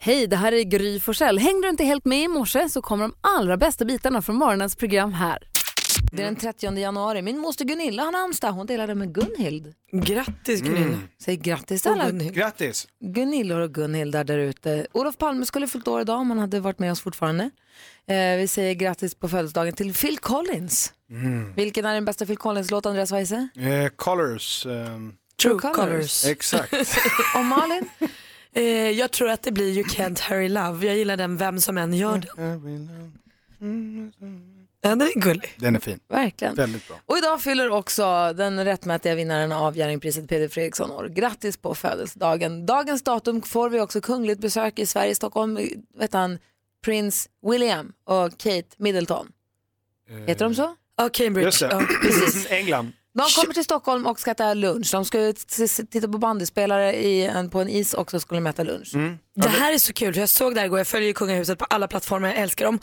Hej, det här är Gry Forssell. Hängde du inte helt med i morse så kommer de allra bästa bitarna från morgonens program här. Det är den 30 januari. Min moster Gunilla har namnsdag. Hon delade med Gunhild. Grattis Gunilla. Mm. Säg grattis till alla Gunhild. Grattis! Gunillor och Gunhildar där ute. Olof Palme skulle fyllt år idag om han hade varit med oss fortfarande. Eh, vi säger grattis på födelsedagen till Phil Collins. Vilken är den bästa Phil Collins-låt, Andreas Weise? Eh, colors. ehm, True True colors. colours. exakt. Och Malin? Eh, jag tror att det blir You Can't Hurry Love. Jag gillar den vem som än gör den. Ja, den är gullig. Den är fin. Verkligen. Väldigt bra. Och idag fyller också den rättmätiga vinnaren av Jerringpriset Peder Fredriksson år. Grattis på födelsedagen. Dagens datum får vi också kungligt besök i Sverige, Stockholm, vet han, prins William och Kate Middleton. Heter de så? Ja, Cambridge. Just det. Ja, precis. England. De kommer till Stockholm och ska äta lunch. De ska ju t- t- titta på bandyspelare i en, på en is också och skulle de äta lunch. Det här är så kul för jag såg det här igår, jag följer ju kungahuset på alla plattformar, jag älskar dem.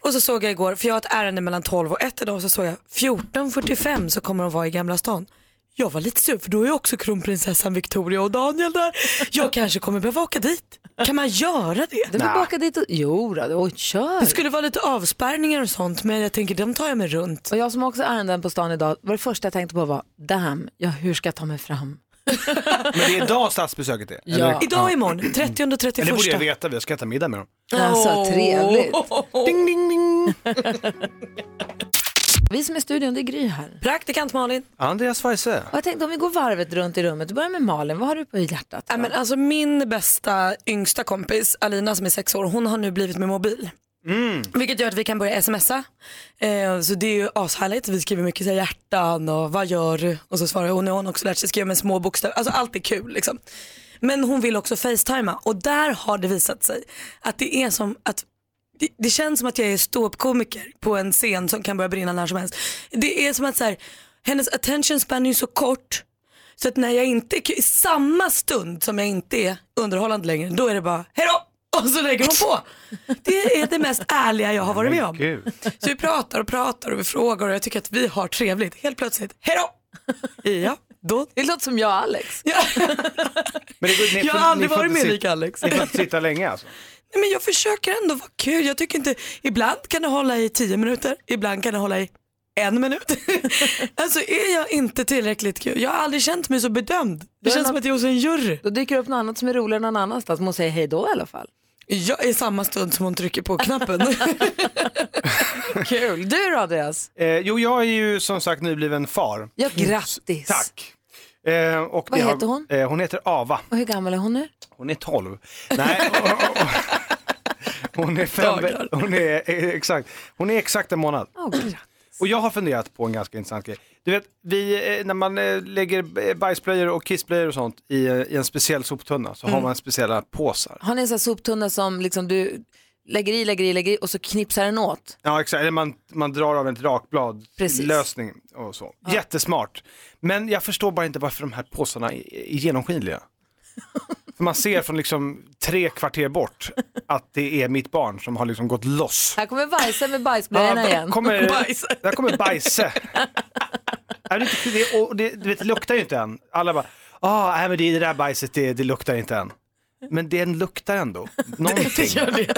Och så såg jag igår, för jag har ett ärende mellan 12 och 1 idag, så såg jag 14.45 så kommer de vara i Gamla stan. Jag var lite sur för då är ju också kronprinsessan Victoria och Daniel där. Jag kanske kommer behöva åka dit. Kan man göra det? Du får baka dit och... Jo, då, och kör. Det skulle vara lite avspärrningar och sånt men jag tänker de tar jag mig runt. Och jag som också är ärenden på stan idag, var det första jag tänkte på var, damn, ja, hur ska jag ta mig fram? Men det är idag statsbesöket är? Ja. Eller? Idag och imorgon, 30 Men och det borde jag 31. veta, jag ska äta middag med dem. Alltså, trevligt. Ding, ding, ding. Vi som är i studion, det är Gry här. Praktikant Malin. Andreas Weise. Och jag tänkte om vi går varvet runt i rummet, du börjar med Malin, vad har du på hjärtat? Ja, men alltså min bästa yngsta kompis, Alina som är sex år, hon har nu blivit med mobil. Mm. Vilket gör att vi kan börja smsa. Eh, så det är ju ashärligt. Vi skriver mycket så här, hjärtan och vad gör du? Och så svarar hon, nu har hon också lärt sig skriva med små bokstäver. Alltså allt är kul liksom. Men hon vill också facetima och där har det visat sig att det är som att det, det känns som att jag är ståuppkomiker på en scen som kan börja brinna när som helst. Det är som att så här, hennes attention span är ju så kort så att när jag inte är kul- i samma stund som jag inte är underhållande längre, då är det bara hejdå! Och så lägger hon på. Det är det mest ärliga jag har varit med om. Gud. Så vi pratar och pratar och vi frågar och jag tycker att vi har trevligt. Helt plötsligt, hejdå! Ja, då. Det låter som jag och Alex. Ja, Men det går, ni jag får- har aldrig ni får varit inte med sit- lik Alex. Ni får inte sitta länge alltså? Nej, men jag försöker ändå vara kul. Jag tycker inte, ibland kan det hålla i tio minuter, ibland kan det hålla i en minut. alltså är jag inte tillräckligt kul? Jag har aldrig känt mig så bedömd. Det är känns något- som att jag är hos en jury. Då dyker det upp något annat som är roligare någon annanstans, man säger hej då i alla fall. Jag är i samma stund som hon trycker på knappen. Kul! Du då Andreas? Eh, jo, jag är ju som sagt nybliven far. Ja, grattis! Tack. Eh, och Vad det har- heter hon? Eh, hon heter Ava. Och hur gammal är hon nu? Hon är 12. Nej, och- och- hon är fem, Dagar. hon är, eh, exakt, hon är exakt en månad. Åh, grattis. Och jag har funderat på en ganska intressant grej. Du vet, vi, eh, när man eh, lägger eh, bajsblöjor och kissblöjor och sånt i, eh, i en speciell soptunna så har man speciella påsar. Har ni en sån här soptunna som liksom du lägger i, lägger i, lägger i och så knipsar den åt? Ja, exakt. Eller man, man drar av ett rakblad Precis. lösning och så. Jättesmart. Men jag förstår bara inte varför de här påsarna är, är genomskinliga. För man ser från liksom tre kvarter bort att det är mitt barn som har liksom gått loss. Här kommer Weise med bajsblöjorna Ja, igen. Kommer, Bajse. Där kommer bajse. Nej, det, det, och det, du vet, det luktar ju inte än. Alla bara, ah, nej, men det, det där bajset det, det luktar inte än. Men den luktar ändå. Någonting.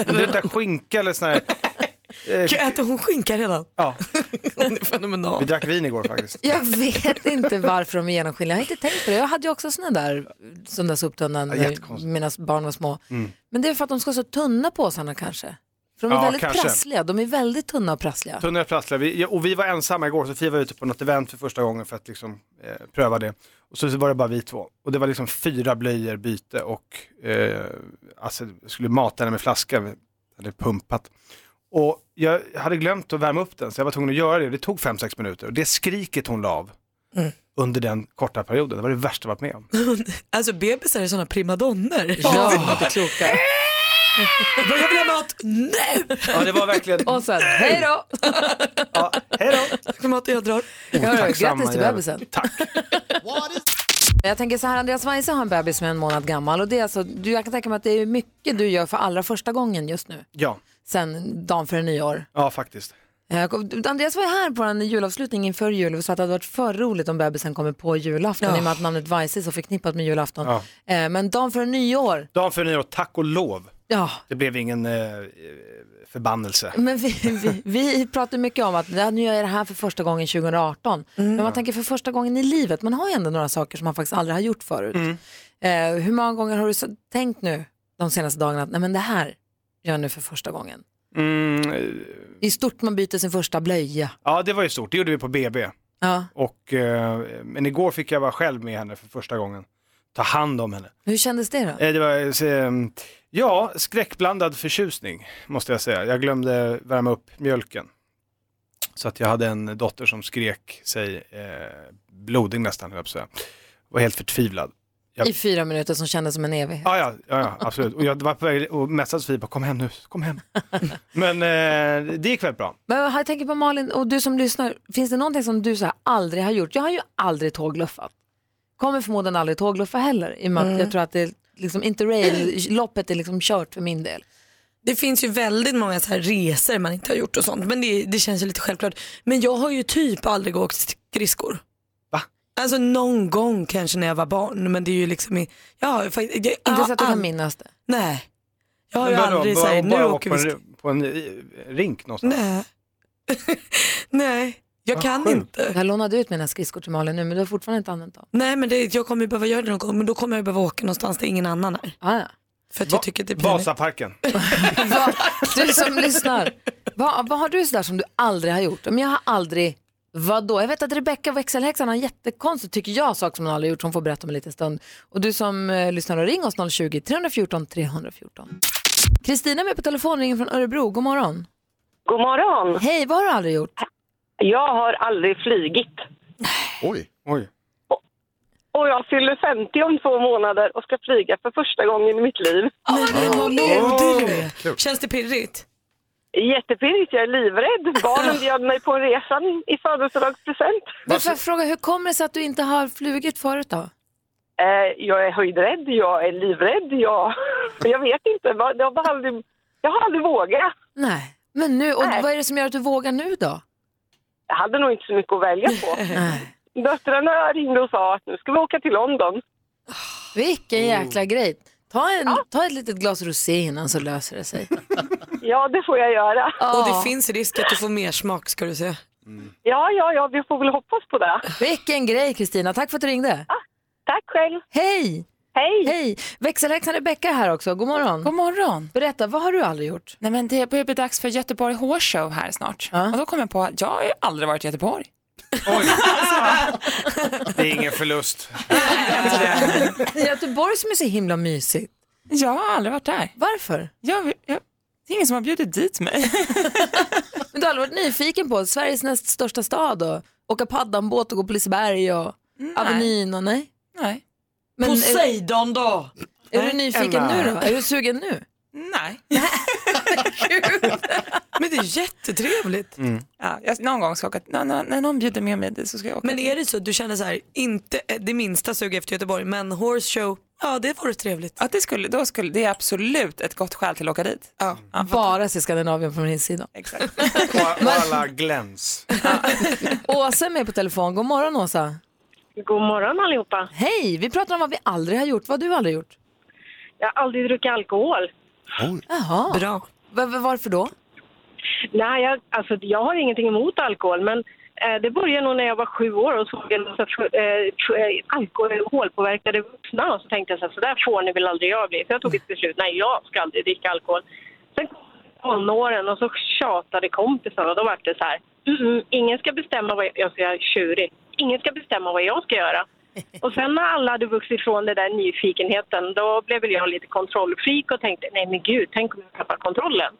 Om det luktar skinka eller sån här. Jag äter hon skinka redan? Ja, Hon är vi fenomenal. drack vin igår faktiskt. Jag vet inte varför de är genomskinliga. Jag har inte tänkt på det. Jag hade ju också såna där, sån där soptunnan när jättekonstigt. Mm. mina barn var små. Men det är för att de ska vara så tunna påsarna kanske. För de är Ja, väldigt kanske. prassliga. De är väldigt tunna och prassliga. Tunna prasslar. Vi, ja, och vi var ensamma igår, Sofia var ute på något event för första gången för att liksom, eh, pröva det. Och så var det bara vi två. Och det var liksom fyra blöjor, byte och eh, alltså, jag skulle mata henne med flaska, vi hade pumpat. Och jag hade glömt att värma upp den så jag var tvungen att göra det och det tog fem sex minuter. Och det skriket hon la av Mm. under den korta perioden, det var det värsta jag varit med om. Alltså bebisar är sådana primadonner. Ja, de är inte kloka. Jag vill ha mat nu! Ja, det var verkligen, Och sen, hej då! ja, hej då! Vilken mat jag drar. Hörru, Otacksamma grattis till jävel. bebisen. Tack. Jag tänker så här, Andreas Weise har en bebis som är en månad gammal. Och det är alltså, du, jag kan tänka mig att det är mycket du gör för allra första gången just nu. Ja, Sen dagen före nyår. ja faktiskt. Jag Eh, kom- Andreas var ju här på en julavslutning inför jul och sa att det hade varit för roligt om bebisen kommer på julafton Ja. i och med att namnet Weise är så förknippat med julafton. Ja. Eh, Men dagen före nyår, Dagen före nyår, tack och lov. Ja, Det blev ingen eh, förbannelse. men vi, vi, vi pratar ju mycket om att det här- nu gör jag det här för första gången 2018. Mm. Men man tänker för första gången i livet, man har ju ändå några saker som man faktiskt aldrig har gjort förut. Mm. Eh, hur många gånger har du så, tänkt nu de senaste dagarna att nej men det här gör jag nu för första gången? Mm, eh, Det är stort man byter sin första blöja. ja, det var ju stort. Det gjorde vi på BB. Ja. Och, eh, men igår fick jag vara själv med henne för första gången. Ta hand om henne. Hur kändes det då? Eh, Det var, så, eh, ja, skräckblandad förtjusning måste jag säga. Jag glömde värma upp mjölken. Så att jag hade en dotter som skrek sig eh, blodig nästan, höll jag på att säga. Var helt förtvivlad. ja. I fyra minuter som kändes som en evighet. Ja, ja, ja, ja absolut. Och jag var på väg och messade Sofie, bara, kom hem nu, kom hem. Men eh, det gick väldigt bra. Men jag tänker på Malin och du som lyssnar, finns det någonting som du så här aldrig har gjort? Jag har ju aldrig tågluffat. Kommer förmodligen aldrig tågluffa heller. I och med att jag tror att det är liksom interrail-loppet är liksom kört för min del. Det finns ju väldigt många så här resor man inte har gjort och sånt men det, det känns ju lite självklart. Men jag har ju typ aldrig åkt skridskor. Va? Alltså någon gång kanske när jag var barn men det är ju liksom, i- jag har ju faktiskt, jag, Inte så att du all- kan minnas det. Nej. Jag har Men ju vadå, aldrig bara- såhär, nu bara åker vi på skridskor. en, på en eh, rink någonstans. Nej. Nej, jag Vad kan sjukt. inte. Jag lånade ut mina skridskor till Malin nu men du har fortfarande inte använt dem. Nej men det, jag kommer ju behöva göra det någon gång men då kommer jag behöva åka någonstans där ingen annan är. Ah, ja. För att Va- jag tycker att det är pinigt. Vasaparken. Va- Du som lyssnar, vad, vad har du sådär som du aldrig har gjort? Men jag har aldrig, vadå? Jag vet att Rebecca växelhäxan har en jättekonstig, tycker jag, sak som hon aldrig gjort som hon får berätta om en liten stund. Och du som eh, lyssnar, ring oss 020-314 314. Kristina är med på telefon, ringer från Örebro. God morgon. God morgon! Hej, vad har du aldrig gjort? Jag har aldrig flygit. Oj. Oj. Och jag fyller 50 om två månader och ska flyga för första gången i mitt liv. Men vad modig du är. Kul. Känns det pirrigt? Jättepirrigt, jag är livrädd. Barnen bjöd mig på en resa i födelsedagspresent. Men får jag fråga, hur kommer det sig att du inte har flugit förut då? Eh, jag är höjdrädd, jag är livrädd, jag, jag vet inte. vad- Jag har, bara aldrig, jag har aldrig vågat. Nej, men nu, och Nej. vad är det som gör att du vågar nu då? Jag hade nog inte så mycket att välja på. Nej. Döttrarna ringde och sa att nu ska vi åka till London. Vilken jäkla grej. Ta, en, ta ett litet glas rosé innan så löser det sig. Ja, det får jag göra. Och Ja. det finns risk att du får mer smak ska du se. Ja, ja, ja, vi får väl hoppas på det. Vilken grej Kristina, tack för att du ringde. Tack själv. Hej! Hej! Hej! Växelhäxan Rebecka här också, god morgon. God morgon. Berätta, vad har du aldrig gjort? Nej, men det börjar bli dags för Göteborg Horse Show här snart. Ja. Och då kom jag på att jag har ju aldrig varit i Göteborg. Det är ingen förlust. Göteborg som är så himla mysigt. Jag har aldrig varit där. Varför? Jag, jag, det är ingen som har bjudit dit mig. Men du har aldrig varit nyfiken på Sveriges näst största stad och åka paddanbåt och gå på Liseberg och Avenyn och nej? Nej. Men är, Poseidon då! är du nyfiken Emma. nu då? Är du sugen nu? Nej. Men det är jättetrevligt. Ja, jag, någon gång ska jag åka, nå- nå- när någon bjuder med mig dit så ska jag åka. Men är det så att du känner så här, inte eh, det minsta sug efter Göteborg men horse show, ja det vore trevligt. att det, skulle, då skulle, det är absolut ett gott skäl till att åka dit. Ja, Bara se Skandinavien från min sida. exakt. Koala gläns. Åsa är med på telefon, god morgon Åsa. God morgon allihopa. Hej, vi pratar om vad vi aldrig har gjort, vad har du aldrig gjort? Jag har aldrig druckit alkohol. Oj. Jaha, Bra. Va- va- varför då? Nej, jag, alltså, jag har ingenting emot alkohol, men eh, det började nog när jag var sju år och såg en massa fu- eh, fu- eh, alkoholpåverkade vuxna. Och så tänkte jag så, här, så där får ni väl aldrig jag bli. Så jag tog ett beslut, nej jag ska aldrig dricka alkohol. Sen kom tonåren och så tjatade kompisarna och då var det så här, "Mm, ingen ska bestämma vad jag, jag ska göra, tjurig. Ingen ska bestämma vad jag ska göra. Och sen när alla hade vuxit ifrån den där nyfikenheten, då blev väl jag lite kontrollfreak och tänkte, nej men gud, tänk om jag tappar kontrollen.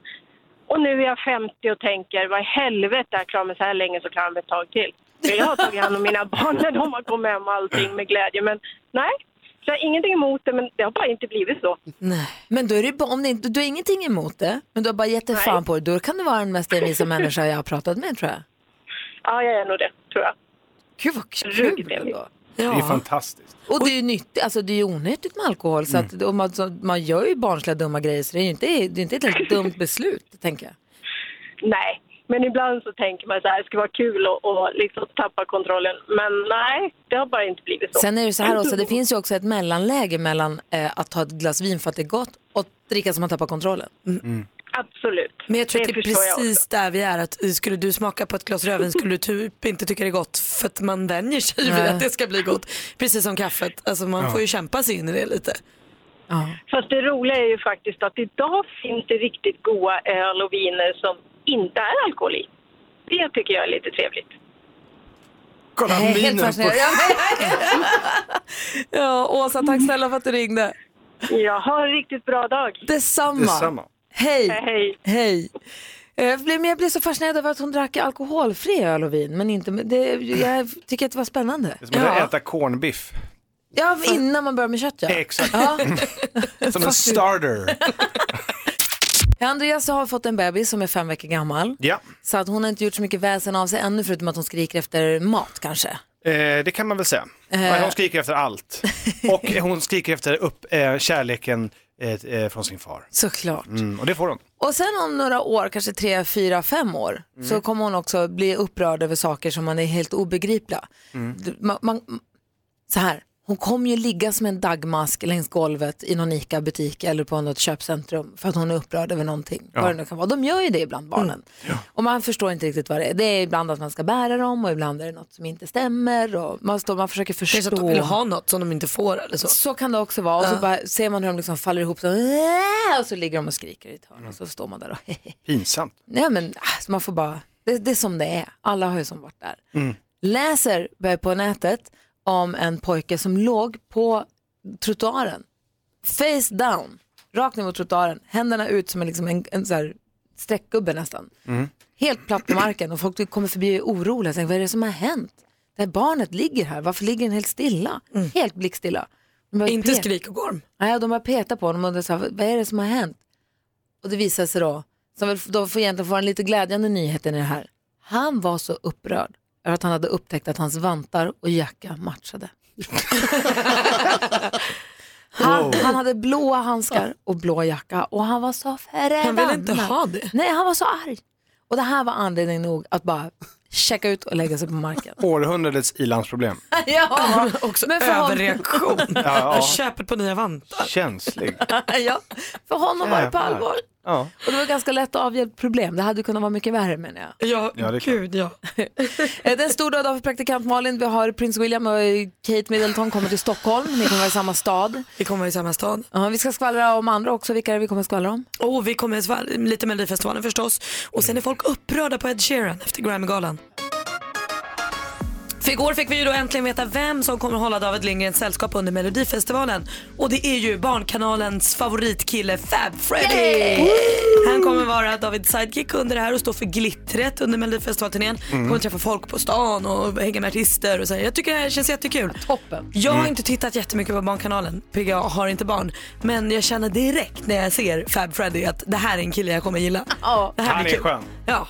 Och nu är jag 50 och tänker, vad i helvete, jag klarar mig så här länge så klarar jag mig ett tag till. För jag har tagit hand om mina barn när de har kommit hem och allting med glädje. Men nej, så jag har ingenting emot det, men det har bara inte blivit så. Men då är det, bara- om det, inte- du har ingenting emot det, men du har bara gett dig fan på det. Då kan du vara den mest envisa människa jag har pratat med tror jag. Ja, jag är nog det, tror jag. Gud vad Ruggigt kul envis. ändå. Det är fantastiskt. Och det är ju nyttigt, alltså det är ju onyttigt med alkohol. Så Mm. att, och man, så, man gör ju barnsliga dumma grejer så det är ju inte, det är inte ett helt dumt beslut tänker jag. Nej, men ibland så tänker man så här, det ska vara kul och, och liksom tappa kontrollen. Men nej, det har bara inte blivit så. Sen är det ju så här också, det finns ju också ett mellanläge mellan eh, att ta ett glas vin för att det är gott och dricka som man tappar kontrollen. Absolut. Men jag tror att det är förstår jag precis där vi är. Att eh, skulle du smaka på ett glas rödvin skulle du typ inte tycka det är gott för att man vänjer sig vid Nej. att det ska bli gott. Precis som kaffet. Alltså man får ju kämpa sig in i det lite. Ja. Fast det roliga är ju faktiskt att idag finns det riktigt goda öl och viner som inte är alkohol i. Det tycker jag är lite trevligt. Kolla Jag är minen helt på- fascinerad. ja, Åsa, tack snälla för att du ringde. Jag har en riktigt bra dag. Detsamma. Detsamma. Hej. Hej. Hej. Eh, Jag blev, men jag blev så fascinerad över att hon drack alkoholfri öl och vin. Men inte, men det, jag tycker att det var spännande. Det är som att äta cornbiff. Ja, innan man börjar med kött ja. Exakt. ja. Som en starter. Andreas har fått en bebis som är fem veckor gammal. Ja, Så att hon har inte gjort så mycket väsen av sig ännu förutom att hon skriker efter mat kanske. eh, det kan man väl säga. Eh. Nej, Hon skriker efter allt. Och hon skriker efter upp, eh, kärleken eh, eh, från sin far. Såklart. Mm, och det får hon. Och sen om några år, kanske tre, fyra, fem år, Mm. så kommer hon också bli upprörd över saker som man är helt obegripliga. Mm. Du- Man, man, så här, hon kommer ju ligga som en dagmask längs golvet i någon ICA-butik eller på något köpcentrum för att hon är upprörd över någonting. Vad det nu kan vara. De gör ju det ibland, barnen. Och man förstår inte riktigt vad det är. Det är ibland att man ska bära dem och ibland är det något som inte stämmer. Och man, står, man försöker förstå. Det är så att de vill ha något som de inte får eller så. Så kan det också vara. Och så bara, ser man hur de liksom faller ihop så, och så ligger de och skriker i ett hörn och så står man där och Pinsamt. Nej men ah, så man får bara, det, det är som det är. Alla har ju som varit där. Läser börjar på nätet om en pojke som låg på trottoaren. Face down, rakt ner mot trottoaren, händerna ut som en, liksom en, en så här streckgubbe nästan. Helt platt på marken och folk kommer förbi och är oroliga. Tänker, vad är det som har hänt? Det här barnet ligger här, varför ligger den helt stilla? Helt blickstilla. De börjar Inte peka. skrik och gorm. Nej, de har petat på honom och undrar så här, vad är det som har hänt? Och det visar sig då, som väl då får egentligen få en lite glädjande nyhet i det här. Han var så upprörd över att han hade upptäckt att hans vantar och jacka matchade. han, han hade blåa handskar och blå jacka och han var så Han förbannad. vill inte ha det. Nej, han var så arg. Och det här var anledning nog att bara checka ut och lägga sig på marken. Århundradets ilandsproblem. ja, Också Men för honom- överreaktion. Ja, Köpet på nya vantar. ja. Känslig. ja, för honom var det på Jävlar. allvar. Ja. Och det var ganska lätt att avhjälpa problem. Det hade kunnat vara mycket värre menar jag. Ja, Ja, det är klart. gud ja. Eh, Det är en stor dag idag för praktikant Malin. Vi har prins William och eh, Kate Middleton kommer till Stockholm. Ni kommer vara i samma stad. Vi kommer i samma stad. Ja, vi ska skvallra om andra också. Vilka är det vi kommer skvallra om? Och Oh, vi kommer svär- lite Melodifestivalen förstås. Och sen är folk upprörda på Ed Sheeran efter Grammy-galan. För igår fick vi ju då äntligen veta vem som kommer hålla David Lindgrens sällskap under Melodifestivalen. Och det är ju Barnkanalens favoritkille Fab Freddy! Han kommer vara Davids sidekick under det här och stå för glittret under Melodifestivalturnén. Kommer träffa folk på stan och hänga med artister och så. här. Jag tycker det här känns jättekul. Toppen. Jag har inte tittat jättemycket på Barnkanalen, PGA har inte barn. Men jag känner direkt när jag ser Fab Freddy att det här är en kille jag kommer gilla. Ja. Det här Han blir är kul. skön. Ja.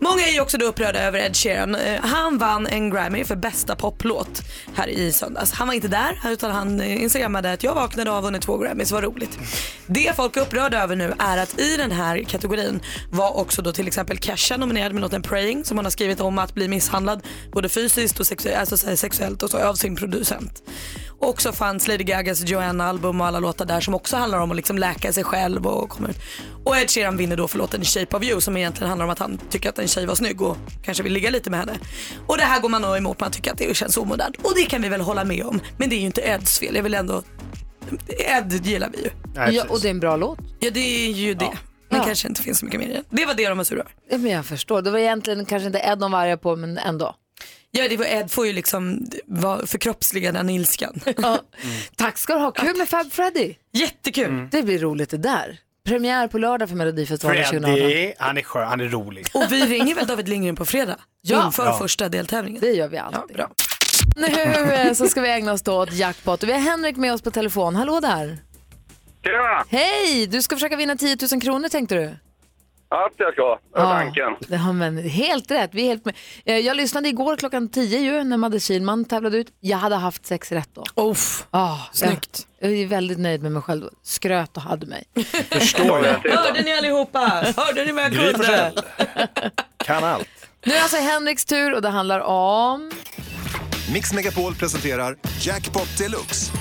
Många är ju också då upprörda över Ed Sheeran. Eh, Han vann en Grammy för bästa poplåt här i söndags. Han var inte där utan han eh, instagrammade att jag vaknade och har vunnit två Grammys, vad roligt. Det folk är upprörda över nu är att i den här kategorin var också då till exempel Kesha nominerad med låten Praying som hon har skrivit om att bli misshandlad både fysiskt och sexu- alltså så här sexuellt och så av sin producent. Också fanns Lady Gagas Joanna-album och alla låtar där som också handlar om att liksom läka sig själv och komma ut. Och Ed Sheeran vinner då för låten Shape of You som egentligen handlar om att han tycker att en tjej var snygg och kanske vill ligga lite med henne. Och det här går man då emot, man tycker att det känns omodernt. Och det kan vi väl hålla med om, men det är ju inte Eds fel. Jag vill ändå... Ed gillar vi ju. Nej, Ja, precis. och det är en bra låt. Ja det är ju det. Men Ja. kanske inte finns så mycket mer i det. Det var det de var sura över. Ja, men jag förstår. Det var egentligen kanske inte Ed de var arga på, men ändå. Ja det var Ed får ju liksom vara- förkroppsliga den ilskan. Ja. Mm. Tack ska du ha. Kul med Fab Freddy. Jättekul. Det blir roligt det där. Premiär på lördag för Melodifestivalen 2018. Freddy, han är skön, han är rolig. Och vi ringer väl David Lindgren på fredag? Ja. Inför Ja. första deltävlingen. Det gör vi alltid. Ja, bra. Nu eh, så ska vi ägna oss då åt jackpot. Och Vi har Henrik med oss på telefon. Hallå där! Tjena! Hej! Du ska försöka vinna 10 000 kronor tänkte du? Allt jag ska. Det var tanken. det har men helt rätt. Vi är helt med. Eh, Jag lyssnade igår klockan 10 ju när Madde Kihlman tävlade ut. Jag hade haft sex rätt då. Uff. Oh, Snyggt. Jag, jag är väldigt nöjd med mig själv. då. Skröt och hade mig. Förstår jag. Hörde ni allihopa? Hörde ni vad jag Gry kunde? Forssell. Kan allt. Nu är det alltså Henriks tur och det handlar om... Mix Megapol presenterar Jackpot Deluxe.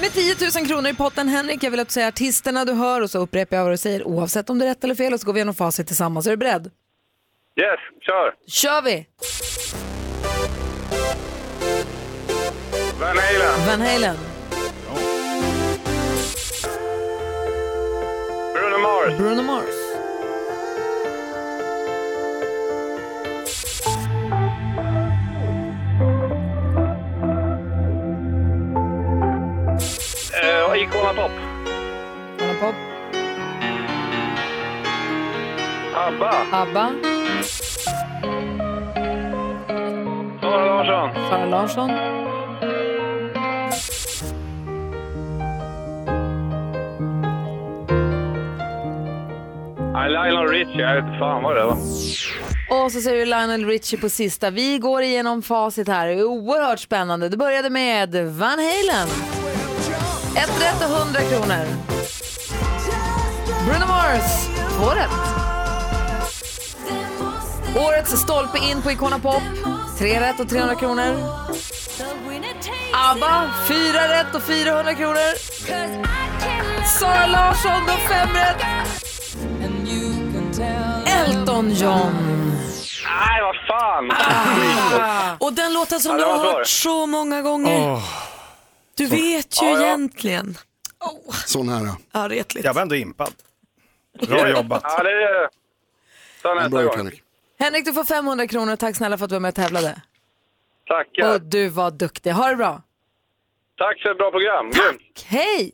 med 10 000 kronor i potten. Henrik, jag vill att du säger artisterna du hör och så upprepar jag vad du säger oavsett om det är rätt eller fel och så går vi igenom facit tillsammans. Är du beredd? Yes, kör! kör vi! Van Halen, Van Halen, Bruno Mars, Bruno Mars, eh, och Icona Pop, Anna Pop, ABBA, ABBA, Sara Larsson, Sara Larsson, Nej, Lionel Richie, jag vet inte fan vad det var. Och så ser du Lionel Richie på sista. Vi går igenom facit här. Det är oerhört spännande. Det började med Van Halen. Ett rätt och 100 kronor. Bruno Mars, två rätt. Årets stolpe in på Icona Pop, tre rätt och 300 kronor. ABBA, fyra rätt och 400 kronor. Sara Larsson, då fem rätt. Elton John. Nej, vad fan! Och den låten som Ja, det du har var bra hört det. så många gånger. Du vet ju Ja, ja. egentligen. Sån här. ja. Ja, retligt. Jag var ändå impad. Bra jobbat. Ja, det är... Ta Bra nästa gjort gång. Henrik. Henrik, du får 500 kronor. Tack snälla för att du var med och tävlade. Tackar. Och du var duktig. Ha det bra. Tack för ett bra program. Grymt. Hej!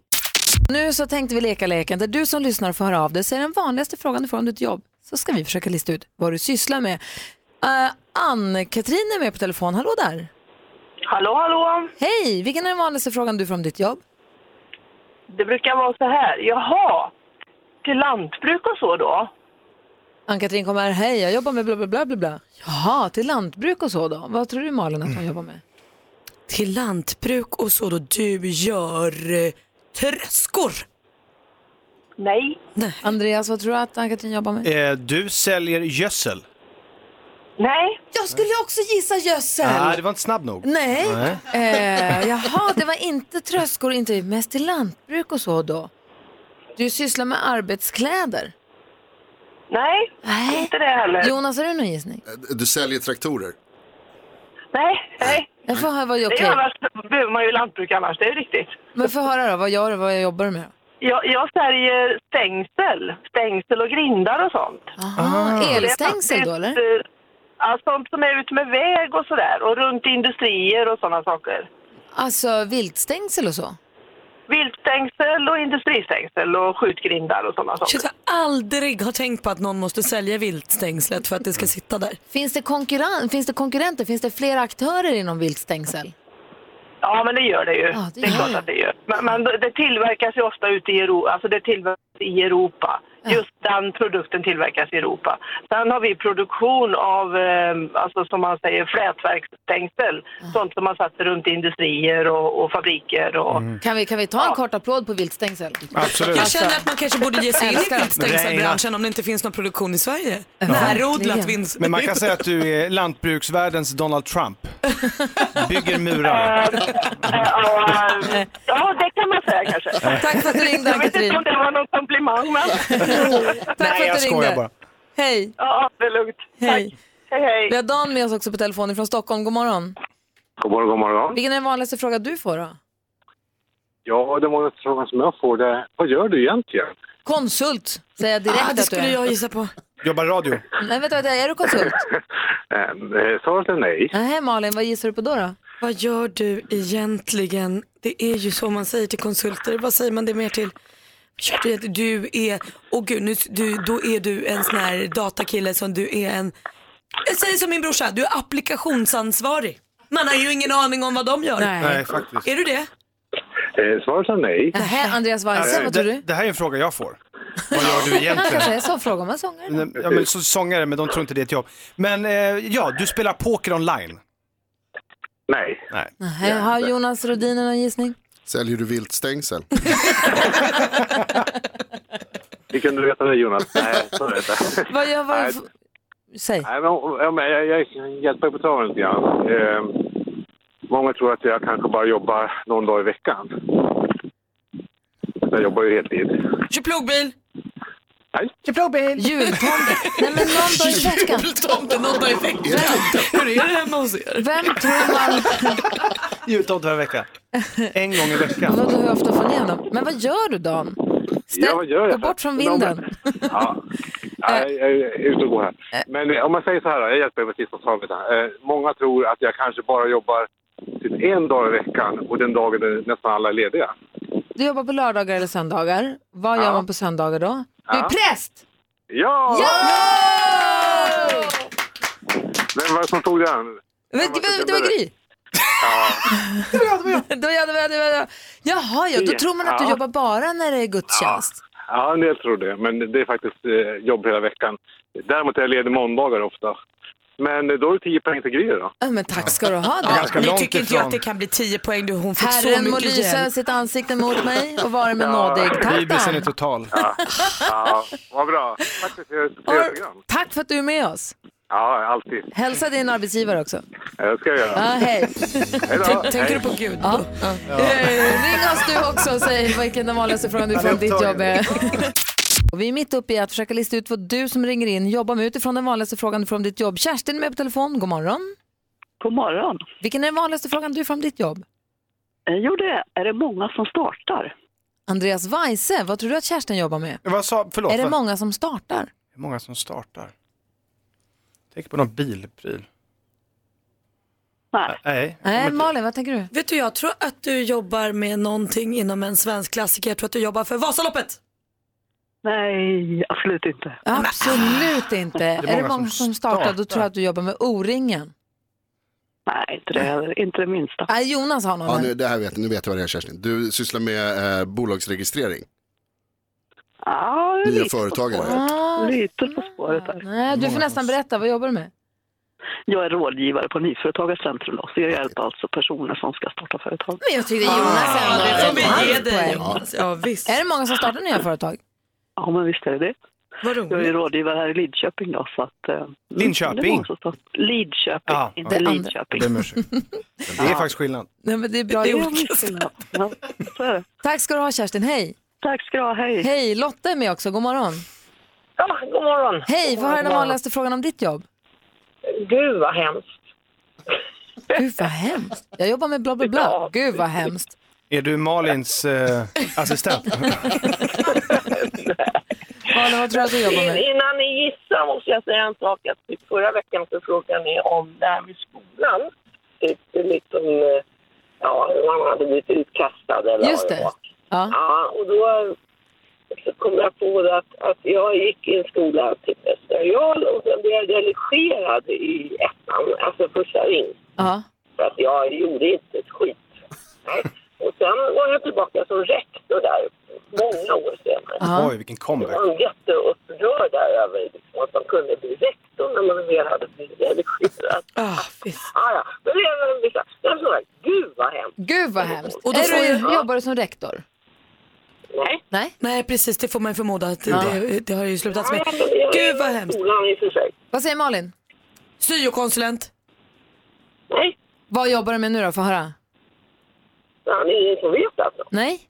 Nu så tänkte vi leka leken där du som lyssnar får höra av dig. Säg den vanligaste frågan du får om ditt jobb så ska vi försöka lista ut vad du sysslar med. Eh, Ann-Katrin är med på telefon. Hallå där! Hallå, hallå! Hej! Vilken är den vanligaste frågan du får om ditt jobb? Det brukar vara så här. Jaha, till lantbruk och så då? Ann-Katrin kommer här. Hej, jag jobbar med bla bla bla bla bla. Jaha, till lantbruk och så då. Vad tror du Malin att hon jobbar med? Till lantbruk och så då du gör eh, tröskor. Nej. Andreas, vad tror du att Ann-Katrin jobbar med? Eh, du säljer gödsel. Nej. Jag skulle också gissa gödsel! Nej, det var inte snabb nog. Nej. Nej. Eh, jaha, det var inte tröskor, inte mest till lantbruk och så då. Du sysslar med arbetskläder. Nej. Nej. Inte det heller. Jonas, har du någon gissning? Eh, Du säljer traktorer. Nej. Nej. Jag får höra vad jag Det är annars behöver man ju lantbruk annars. Det är ju riktigt. Men får höra då, vad gör du, vad jag jobbar du med? Jag, jag säljer stängsel. Stängsel och grindar och sånt. Aha, elstängsel då eller? eller? Ja, sånt som är ute med väg och sådär. Och runt industrier och sådana saker. Alltså viltstängsel och så? Viltstängsel och industristängsel och skjutgrindar och sådana saker. Shit, jag aldrig har tänkt på att någon måste sälja viltstängslet för att det ska sitta där. Finns det, konkurren- finns det konkurrenter, finns det flera aktörer inom viltstängsel? Ja, men det gör det ju. Ja, det det, är gör det. klart att det gör. Men, men det tillverkas ju ofta ute i Europa. Alltså det tillverkas i Europa. Just den produkten tillverkas i Europa. Sen har vi produktion av, eh, alltså som man säger, flätverksstängsel. Sånt som man sätter runt industrier och, och fabriker. Och, Kan vi, kan vi ta en kort applåd på viltstängsel? Absolut. Jag känner att man kanske borde ge sig in i Älskar. viltstängselbranschen om det inte finns någon produktion i Sverige. Närodlat Verkligen. vinst. Men man kan säga att du är lantbruksvärldens Donald Trump. Bygger murar. Eh, och, eh, ja, det kan man säga kanske. Tack för att du ringde Jag vet Ann-Katrin. inte om det var någon komplimang, men Tack för Nej, att jag du skojar bara. ringde. Hej, ja, det är lugnt. Tack. Hej. Hej, hej. vi har Dan med oss också på telefon från Stockholm. God morgon. God morgon, god morgon. Vilken är den vanligaste frågan du får då? Ja, den vanligaste frågan som jag får det är, vad gör du egentligen? Konsult säger jag direkt Ah, det att du skulle är. jag gissa på. Jobbar radio. Nej, vänta, vänta, är du konsult? Ehm, eh, Svaret är nej. Nej, Malin, vad gissar du på då? då? Vad gör du egentligen? Det är ju så man säger till konsulter. Vad säger man det mer till? Vad gör Du, du är, åh gud, nu, du, då är du en sån här datakille som du är en, jag säger som min brorsa, du är applikationsansvarig. Man har ju ingen aning om vad de gör. Nej, faktiskt. Är du det? Eh, Svaret är nej. Nähä, Andreas Weise, vad tror Det, du? det här är en fråga jag får. Vad gör du Han kanske är egentligen? en sån fråga om en sångare. Ja, men så sångare, men de tror inte det är ett jobb. Men eh, ja, du spelar poker online. Nej. Nej. Nähä, har Jonas Rodin någon gissning? Säljer du viltstängsel? Det kunde du veta det Jonas. Nej, så är det inte. Vad gör vad... Nej. Säg. Nej, men, ja, men jag, jag hjälper på traven lite Ehm, grann. Eh, många tror att jag kanske bara jobbar någon dag i veckan. jag jobbar ju heltid. Kör plogbil. Jultomten. Nej men någon dag i veckan. Jultomte någon dag i veckan. Hur är det hemma hos er? Vem tror man... Jultomte varje vecka. En gång i veckan. Vadå hur ofta får ni honom? Men vad gör du Dan? Ställ, Ja, vad gör jag? Gå bort från vinden. Eh. Ja. Nej, jag är ute och går här. Men eh, om man säger så här, då, jag hjälper er med sista svaret. Eh, många tror att jag kanske bara jobbar typ en dag i veckan och den dagen är nästan alla är lediga. Du jobbar på lördagar eller söndagar. Vad gör Ja. man på söndagar då? Du är Ja. präst! Ja! Vem var det som tog den? Men, det, var- det var Gry. det var jag, det var jag, det var jag. Jaha, ja, då tror man att du Ja. jobbar bara när det är gudstjänst. Ja, en del tror det, men det är faktiskt eh, jobb hela veckan. Däremot är jag ledig måndagar ofta. Men eh, då är det 10 poäng till Gry då. Ja, men tack ska du ha. Då. Ganska Nu långt tycker inte jag ifrån. att det kan bli 10 poäng. Du, hon fick så Herren må mycket lysa hjälp. sitt ansikte mot mig och vara mig nådig. Tack Bibelsen är Dan. total. Ja, vad bra. Tack för ett trevligt program. Tack för att du är med oss. Ja, alltid. Hälsa din arbetsgivare också. Eh, Det ska jag Ja, göra. hej. Hej då. Tänker Hej. du på Gud? Ja. Eh, Ring oss du också och säg vilken den vanligaste frågan du får om ditt jobb är. Och vi är mitt uppe i att försöka lista ut vad du som ringer in jobbar med utifrån den vanligaste frågan du får om ditt jobb. Kerstin är med på telefon, god morgon. God morgon. Vilken är den vanligaste frågan du får om ditt jobb? Eh, Jo, det är, är det många som startar. Andreas Weise, vad tror du att Kerstin jobbar med? Vad sa, förlåt, Är det vad- många som startar? Hur många som startar? Tänk på någon bilpryl. Nej. Nej. Nej, Malin, vad tänker du? Vet du, jag tror att du jobbar med någonting inom en svensk klassiker. Jag tror att du jobbar för Vasaloppet. Nej, absolut inte. Absolut inte. Är det många som startar, då tror jag att du jobbar med O-ringen. Nej, inte det, heller. inte det minsta. Nej, Jonas har någon. Ja, här. nu, det här vet, nu vet jag vad det är Kerstin. Du sysslar med eh, bolagsregistrering. Ja, Nya lite företagare. På spåret. Ah, Lite på spåret där. nej, du får nästan berätta, vad jobbar du med? Jag är rådgivare på Nyföretagarcentrum då, så jag hjälper alltså personer som ska starta företag. Men jag tyckte Jonas ändå det får vi ge halv dig poäng. Jonas. Ja, visst. Är det många som startar nya företag? Ja, men visst är det det. Vad Jag är roligt. rådgivare här i Lidköping då, så att... eh, mm, Linköping? det är många som startar. Lidköping, Ja, inte ja. Lidköping. Det är, musik. det är faktiskt skillnad. Nej, men det är bra Det är gjort. olika Ja, ja, så är det. Tack ska du ha Kerstin, hej! Tack ska du ha, hej. Hej, Lotta är med också, god morgon. Ja, god morgon. Hej, vad är den vanligaste frågan om ditt jobb? Gud vad hemskt. Gud vad hemskt. Jag jobbar med bla bla bla. Gud vad hemskt. Är du Malins eh, assistent? Malin, vad tror du att du jobbar med? Innan ni gissar måste jag säga en sak. Att typ förra veckan så frågade ni om det här med skolan. Typ liksom, eh, ja, man hade blivit utkastad eller Just vad det. var. Ja. Ja, och då så kom jag på det att, att jag gick i en skola till Västra Real och sen blev jag delegerad i ettan, alltså första ring. Ja. För att jag gjorde inte ett skit. Nej. Och sen var jag tillbaka som rektor där många år senare. Ja. Oj, vilken comeback. Jag var jätteupprörd där över liksom, att man kunde bli rektor när man väl hade blivit delegerad. Ah, visst. Ah, ja, men det är väl vissa. Jag sa, gud vad hemskt. Gud vad hemskt. Och då är får du, jag- Jobbar du som rektor? Nej. Nej. Nej, precis. Det får man ju förmoda att det, det har ju slutats med. Ja, men det är- Gud vad hemskt. Skolan i och för sig. Vad säger Malin? Syokonsulent. Nej, Vad jobbar du med nu då? Få höra. fan, det är ingen som vet alltså. Nej?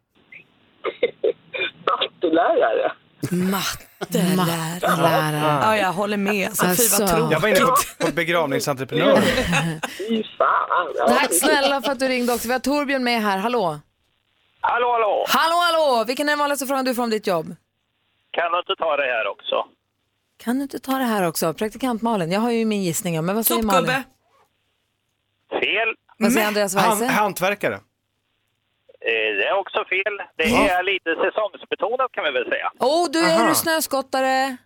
Mattelärare. Mattelärare. Lärare. Ja, jag håller med. Alltså, Fy Alltså. vad Jag tråkigt. var inne på, på begravningsentreprenör. Fy fan. Ja, Tack det- snälla för att du ringde också. Vi har Torbjörn med här. Hallå! Hallå, hallå! Hallå, hallå! Vilken är den vanligaste frågan du får om ditt jobb? Kan du inte ta det här också? Kan du inte ta det här också? Praktikant Malin, jag har ju min gissning. ja, Men vad säger Malin? Sopgubbe. Fel. Vad säger Andreas Han, Weise? hantverkare. Eh, Det är också fel. Det är lite säsongsbetonat kan vi väl säga. Åh, oh, du är du snöskottare.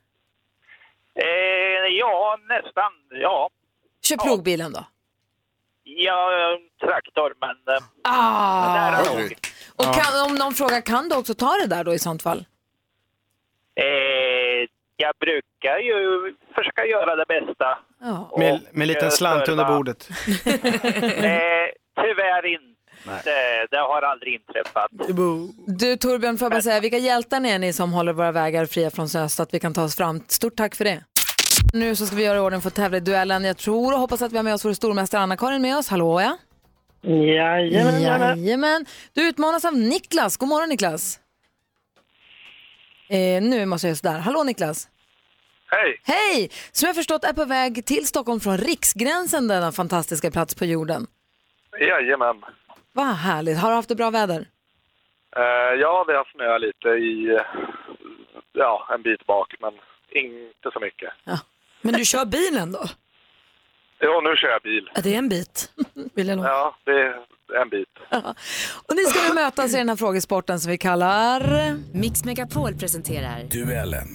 Eh, ja, nästan. Ja, Kör plogbilen då. ja traktor, men eh, Ah. nära nog. Oj, Och kan, om någon frågar, kan du också ta det där då i sånt fall? Eh, jag brukar ju försöka göra det bästa. Ja. och, Med, med en eh, liten slant under serva. bordet. Eh, tyvärr inte. Eh, Det har aldrig inträffat. Du Torbjörn, får jag bara säga, vilka hjältar ni är ni som håller våra vägar fria från snö så att vi kan ta oss fram. Stort tack för det. Nu så ska vi göra i ordning för att tävla i duellen. Jag tror och hoppas att vi har med oss vår stormästare Anna-Karin med oss. Hallå ja. Jajamän. Jajamän. Du utmanas av Niklas. God morgon Niklas. Eh, nu måste jag göra sådär. Hallå Niklas! Hej! Hej! Som jag förstått är på väg till Stockholm från Riksgränsen, denna fantastiska plats på jorden. Jajamän. Vad härligt. Har du haft det bra väder? Eh, ja, det har snöat lite i, eh, ja, en bit bak, men inte så mycket. Men du kör bilen då? Jo, nu kör jag bil. Ja, det är en bit. Vill jag nog. Ja, det är en bit. Och ni ska nu mötas i den här frågesporten som vi kallar... Mix Megapol presenterar Duellen.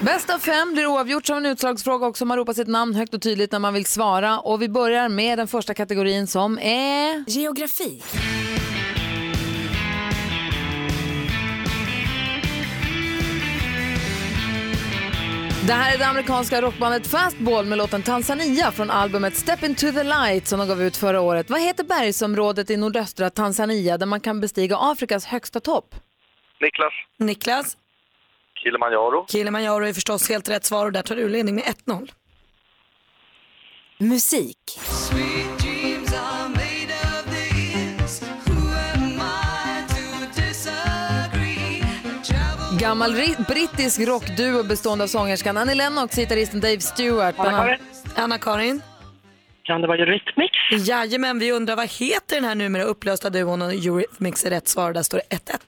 Bäst av fem blir oavgjort som en utslagsfråga också. Man ropar sitt namn högt och tydligt när man vill svara. Och vi börjar med den första kategorin som är... Geografi. Det här är det amerikanska rockbandet Fastball med låten Tanzania från albumet Step Into the Light som de gav ut förra året. Vad heter bergsområdet i nordöstra Tanzania där man kan bestiga Afrikas högsta topp? Niklas Niklas, Kilimanjaro. Kilimanjaro är förstås helt rätt svar och där tar du ledning med 1-0. Musik. Gammal ri- brittisk rockduo bestående av sångerskan Annie Lennox, gitarristen Dave Stewart. bland annat- Anna-Karin? Kan det vara Eurythmics? Jajamän, vi undrar vad heter den här numera upplösta duon och Eurythmics är rätt svar. Där står det 1-1.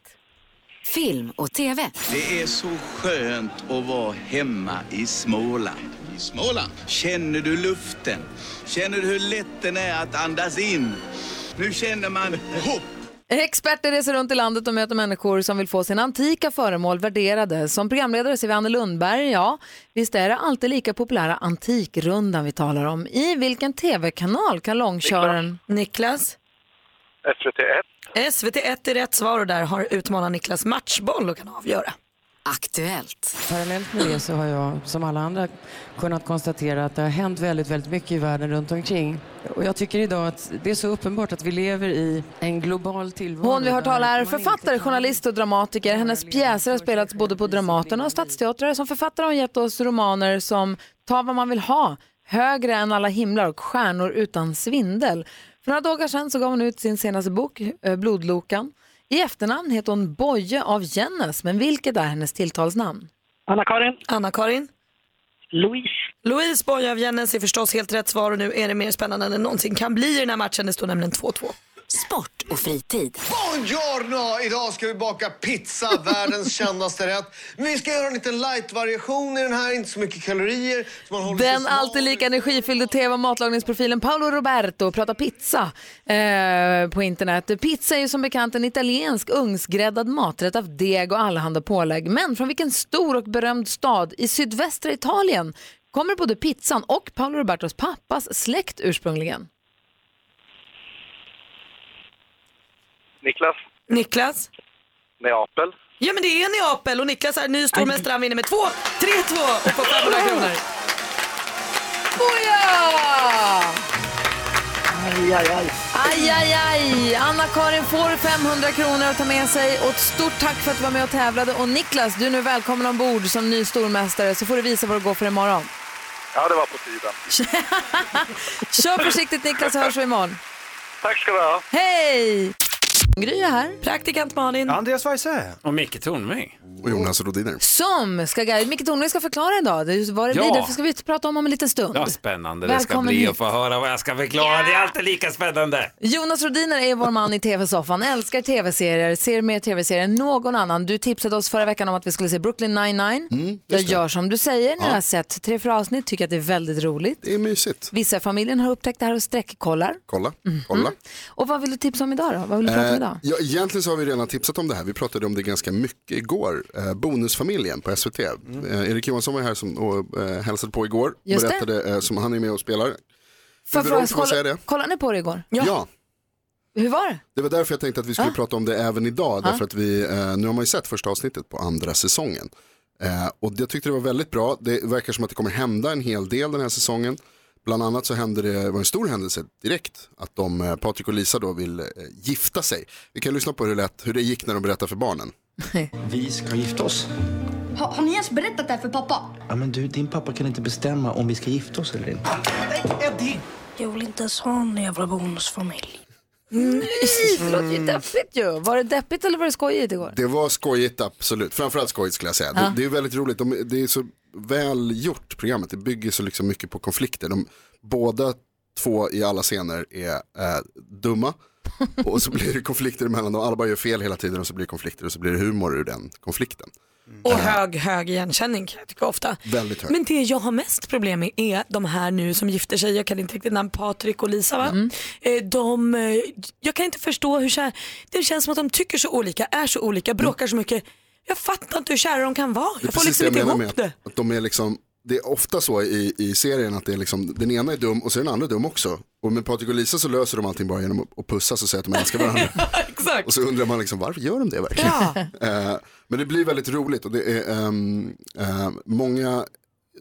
Film och TV. Det är så skönt att vara hemma i Småland. I Småland? Känner du luften? Känner du hur lätt den är att andas in? Nu känner man hopp. Experter reser runt i landet och möter människor som vill få sina antika föremål värderade. Som programledare ser vi Anne Lundberg, ja. Visst är det alltid lika populära Antikrundan vi talar om. I vilken tv-kanal kan långköraren... Niklas? SVT1. SVT1 är rätt svar och där har utmanaren Niklas matchboll och kan avgöra. Aktuellt. Parallellt med det så har jag, som alla andra, kunnat konstatera att det har hänt väldigt, väldigt mycket i världen runt omkring. Och jag tycker idag att det är så uppenbart att vi lever i en global tillvaro. Hon vi har talat är författare, journalist och dramatiker. Hennes pjäser har spelats både på Dramaten och Stadsteatrar. Som författare har hon gett oss romaner som Ta vad man vill ha, Högre än alla himlar och Stjärnor utan svindel. För några dagar sedan så gav hon ut sin senaste bok, eh, Blodlokan. I efternamn heter hon Boje av Jennes, men vilket är hennes tilltalsnamn? Anna-Karin. Anna-Karin? Louise. Louise Boye av Jennes är förstås helt rätt svar och nu är det mer spännande än det någonsin kan bli i den här matchen. Det står nämligen 2-2. Sport och fritid. Buongiorno! Idag ska vi baka pizza, världens kändaste rätt. Men vi ska göra en liten light-variation i den här, inte så mycket kalorier. Så man håller sig Den smal. alltid lika energifyllde tv och matlagningsprofilen Paolo Roberto pratar pizza eh, på internet. Pizza är ju som bekant en italiensk ugnsgräddad maträtt av deg och allehanda pålägg. Men från vilken stor och berömd stad i sydvästra Italien kommer både pizzan och Paolo Robertos pappas släkt ursprungligen? Niklas Niklas? Neapel. Ja men det är Neapel och Niklas är ny stormästare. Han vinner med 2, 3-2 och får 500 kronor. Boja! Aj, aj, aj. Aj, aj, aj! Anna-Karin får 500 kronor att ta med sig och ett stort tack för att du var med och tävlade. Och Niklas, du är nu välkommen ombord som ny stormästare så får du visa vad det går för imorgon. Ja, det var på tiden. Kör försiktigt Niklas så hörs vi imorgon. Tack ska du ha. Hej! Gry är här. Praktikant Malin. Andreas Weise. Och Micke Tornving. Och Jonas Rodiner. Som ska guida, Micke Tornving ska förklara idag det- vad det Ja. blir. Därför ska vi prata om om en liten stund. Ja, spännande det ska Välkommen bli hit. att få höra vad jag ska förklara. Det är alltid lika spännande. Jonas Rodiner är vår man i tv-soffan, älskar tv-serier, ser mer tv-serier än någon annan. Du tipsade oss förra veckan om att vi skulle se Brooklyn 99. jag gör som du säger, när Mm, Ja. jag har sett tre, fyra avsnitt, tycker att det är väldigt roligt. Det är mysigt. Vissa i familjen har upptäckt det här och sträckkollar. Kolla, kolla. Och vad vill du tipsa om idag då? Mm. Vad vill du prata om Eh, idag? ja, egentligen så har vi redan tipsat om det här. Vi pratade om det ganska mycket igår. Eh, bonusfamiljen på SVT. Eh, Erik Johansson var här som, och eh, hälsade på igår. Mm. Just det. berättade, eh, som han är med och spelar. Får jag Huvudroll, fråga, får man säga kolla, det? kollade ni på det igår? Ja. Hur var det? det var därför jag tänkte att vi skulle Ah. prata om det även idag. Ah. Därför att vi, eh, nu har man ju sett första avsnittet på andra säsongen. Eh, och jag tyckte det var väldigt bra. Det verkar som att det kommer hända en hel del den här säsongen. Bland annat så hände det, det var en stor händelse direkt, att de, eh, Patrik och Lisa då vill eh, gifta sig. Vi kan lyssna på hur det, lät, hur det gick när de berättade för barnen. Vi ska gifta oss. Har, har ni ens berättat det här för pappa? Ja, men du, din pappa kan inte bestämma om vi ska gifta oss eller inte. Jag vill inte ens ha en jävla bonusfamilj. Nej, det låter ju deppigt ju. Var det deppigt eller var det skojigt igår? Det var skojigt absolut, framförallt skojigt skulle jag säga. Ja. Det, det är väldigt roligt, De, det är så väl gjort programmet, det bygger så liksom mycket på konflikter. De, båda två i alla scener är eh, dumma och så blir det konflikter emellan dem, alla bara gör fel hela tiden och så blir det konflikter och så blir det humor ur den konflikten. Och hög, hög igenkänning kan jag tycka ofta. Väldigt hög. Men det jag har mest problem med är de här nu som gifter sig, jag kan inte riktigt namn, Patrik och Lisa va? Mm. Eh, De, eh, jag kan inte förstå hur kär, det känns som att de tycker så olika, är så olika, bråkar så mycket. Jag fattar inte hur kära de kan vara. Mm. Det är Jag får precis liksom det inte jag menar ihop med att- det. Att de är liksom, det är ofta så i, i serien att det är liksom, den ena är dum och så är den andra dum också. Och med Patrik och Lisa så löser de allting bara genom att- att pussas och säga att de älskar varandra. Och så undrar man liksom, varför gör de det verkligen? Eh, men det blir väldigt roligt och det är ehm, eh, många,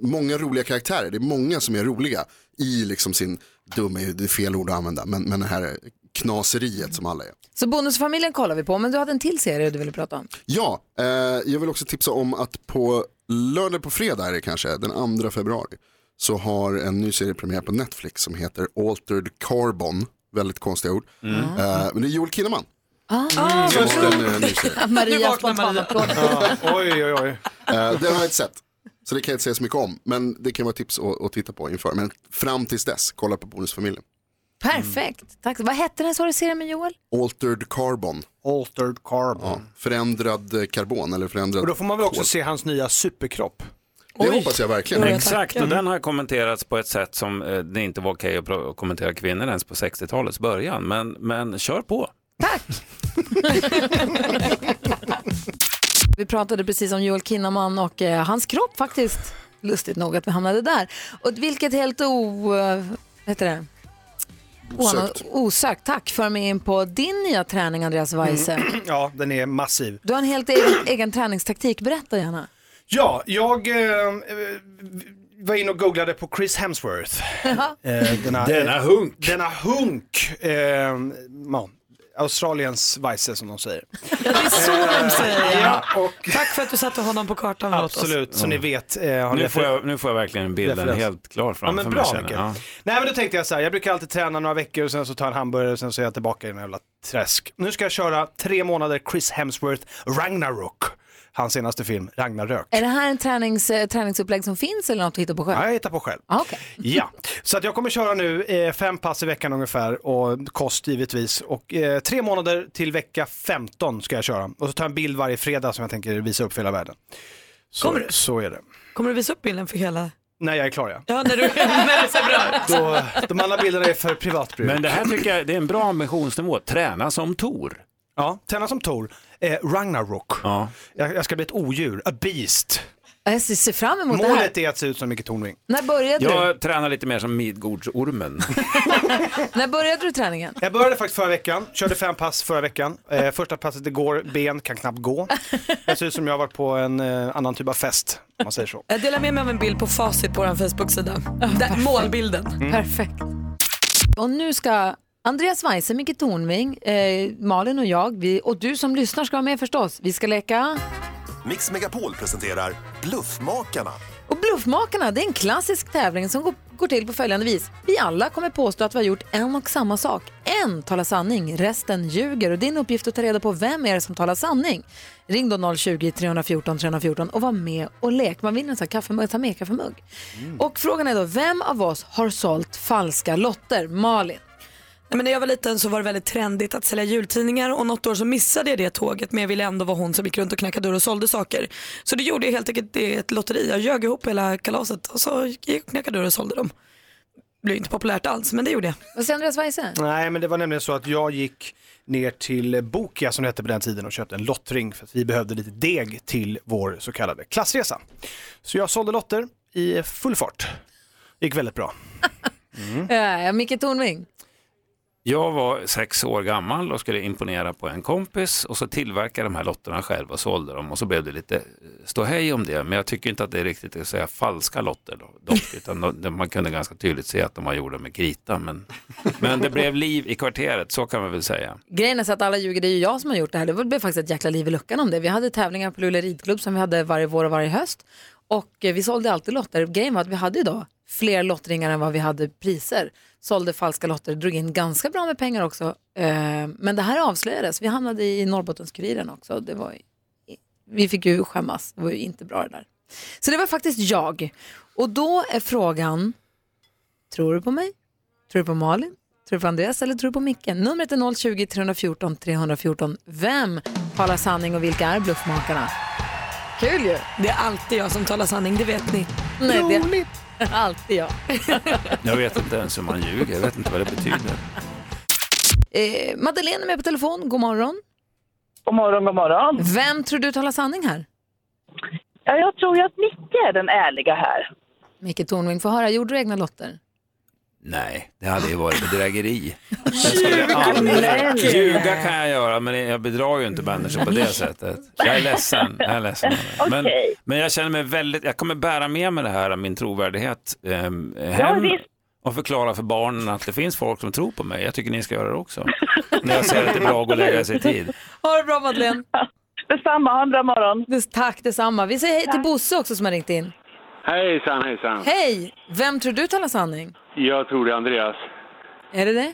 många roliga karaktärer. Det är många som är roliga i liksom sin, dum är ju det är fel ord att använda, men, men det här knaseriet som alla är. Så Bonusfamiljen kollar vi på, men du hade en till serie du ville prata om. Ja, eh, jag vill också tipsa om att på lördag på fredag är det kanske, den 2 februari, så har en ny serie premiär på Netflix som heter Altered Carbon, väldigt konstiga ord. Mm. Eh, men det är Joel Kinnaman. Mm. Ah, Som har en, eh, ny serie. Maria spontanapplåd. Oj, oj, oj. Eh, det har jag inte sett. Så det kan jag inte säga så mycket om. Men det kan vara tips att, att titta på inför. Men fram tills dess, kolla på Bonusfamiljen. Perfekt. Tack. Vad hette den, sa du, serien med Joel? Altered Carbon. Altered Carbon. Ja, förändrad eh, karbon eller förändrad Mm. Och då får man väl också kol. se hans nya superkropp. Det hoppas jag verkligen. Exakt, och den har kommenterats på ett sätt som eh, det inte var okej att pro- att kommentera kvinnor ens på 60-talets början. Men, men kör på. Vi pratade precis om Joel Kinnaman och eh, hans kropp faktiskt. Lustigt nog att vi hamnade där. Och vilket helt o... eh, vad heter det? Osökt. Oan- Osökt, tack. För mig in på din nya träning, Andreas Mm. Weise. Ja, den är massiv. Du har en helt egen, egen träningstaktik, berätta gärna. Ja, jag eh, eh, var inne och googlade på Chris Hemsworth. Eh, Denna eh, hunk. Denna hunk. Eh, ja, Australiens vice som de säger. Ja, det är så de säger. Ja, Tack för att du satte honom på kartan åt oss. Absolut, så ni vet. eh, har ni nu, får refer- jag, nu får jag verkligen bilden referens. helt klar Ja, framför men bra mig. Micke. känner jag. Nej men då tänkte jag så här, jag brukar alltid träna några veckor och sen så tar jag en hamburgare och sen så är jag tillbaka i den här jävla träsk. Nu ska jag köra tre månader Chris Hemsworth Ragnarok. Hans senaste film, Ragnarök. Är det här en tränings, eh, träningsupplägg som finns eller något du hittar på själv? Ja, jag hittar på själv. Ah, okej. Ja, så att jag kommer köra nu eh, fem pass i veckan ungefär och kost givetvis. Och eh, tre månader till vecka 15 ska jag köra. Och så tar jag en bild varje fredag som jag tänker visa upp för hela världen. Så, Kommer du? så är det. Kommer du visa upp bilden för hela? När jag är klar ja. Ja, när du när det ser bra ut. Då, de andra bilderna är för privat bruk. Men det här tycker jag det är en bra ambitionsnivå. Träna som Tor. Ja, träna som Tor. Eh, Ragnarok. Ja. Jag, jag ska bli ett odjur, a beast. Jag ser- ser fram emot det här. Målet är att se ut som Micke Tornving. När började du? Jag tränar lite mer som Midgårdsormen. När började du träningen? Jag började faktiskt förra veckan, körde fem pass förra veckan. Eh, första passet igår, ben kan knappt gå. Det ser ut som jag har varit på en eh, annan typ av fest, om man säger så. Jag delar med mig av en bild på facit på vår Facebook-sida. Där, målbilden. Mm. Perfekt. Och nu ska Andreas Weise, Micke Tornving, eh, Malin och jag, vi, och du som lyssnar ska vara med förstås. Vi ska leka... Mix Megapol presenterar Bluffmakarna. Och Bluffmakarna, det är en klassisk tävling som går, går till på följande vis. Vi alla kommer påstå att vi har gjort en och samma sak. En talar sanning, resten ljuger. Och din uppgift är att ta reda på vem är det som talar sanning. Ring då 020-314 314 och var med och lek. Man vinner en sån här kaffemugg, ta med kaffemugg. Och frågan är då, vem av oss har sålt falska lotter? Malin. Nej, men när jag var liten så var det väldigt trendigt att sälja jultidningar och något år så missade jag det tåget men jag ville ändå vara hon som gick runt och knackade dörr och sålde saker. Så det gjorde jag helt enkelt det är ett lotteri. Jag ljög ihop hela kalaset och så gick jag och knackade dörr och sålde dem. Det blev inte populärt alls men det gjorde jag. Vad säger Andreas Weise? Nej, men det var nämligen så att jag gick ner till Bokia som det hette på den tiden och köpte en lottring för att vi behövde lite deg till vår så kallade klassresa. Så jag sålde lotter i full fart. Gick väldigt bra. Eh, Micke Tornving. Jag var sex år gammal och skulle imponera på en kompis och så tillverkade de här lotterna själv och sålde dem och så blev det lite ståhej om det. Men jag tycker inte att det är riktigt att säga falska lotter då- dock, utan de- man kunde ganska tydligt se att de var gjorda med krita. Men, men det blev liv i kvarteret, så kan man väl säga. Grejen är så att alla ljuger, det är ju jag som har gjort det här. Det blev faktiskt ett jäkla liv i luckan om det. Vi hade tävlingar på Luleå ridklubb som vi hade varje vår och varje höst. Och eh, vi sålde alltid lotter. Grejen var att vi hade ju då fler lottringar än vad vi hade priser. Sålde falska lotter, drog in ganska bra med pengar också. Eh, men det här avslöjades. Vi hamnade i Norrbottenskuriren också. Det var, vi fick ju skämmas. Det var ju inte bra det där. Så det var faktiskt jag. Och då är frågan, tror du på mig? Tror du på Malin? Tror du på Andreas eller tror du på Micke? Numret är 020-314 314. Vem talar sanning och vilka är bluffmakarna? Kul ju! Det är alltid jag som talar sanning, det vet ni. Nej, det är alltid jag. Jag vet inte ens hur man ljuger, jag vet inte vad det betyder. Eh, Madeleine är med på telefon, god morgon. God morgon, god morgon. Vem tror du talar sanning här? Ja, jag tror ju att Micke är den ärliga här. Micke Tornving, får höra, gjorde du egna lotter? Nej, det hade ju varit bedrägeri. Jag Ljuger skulle du? aldrig- Ljuga kan jag göra, men jag bedrar ju inte människor på det sättet. Jag är ledsen. Jag är ledsen. Men, Okej. men jag känner mig väldigt, jag kommer bära med mig det här, min trovärdighet eh, hem visst. och förklara för barnen att det finns folk som tror på mig. Jag tycker ni ska göra det också. När jag säger att det är bra att gå och lägga sig i tid. Ha det bra Madeleine. Detsamma, ha en bra morgon. tack detsamma. Vi säger hej till Bosse också som har ringt in. Hejsan, hejsan. Hej! Vem tror du talar sanning? Jag tror det, Andreas. Är det det?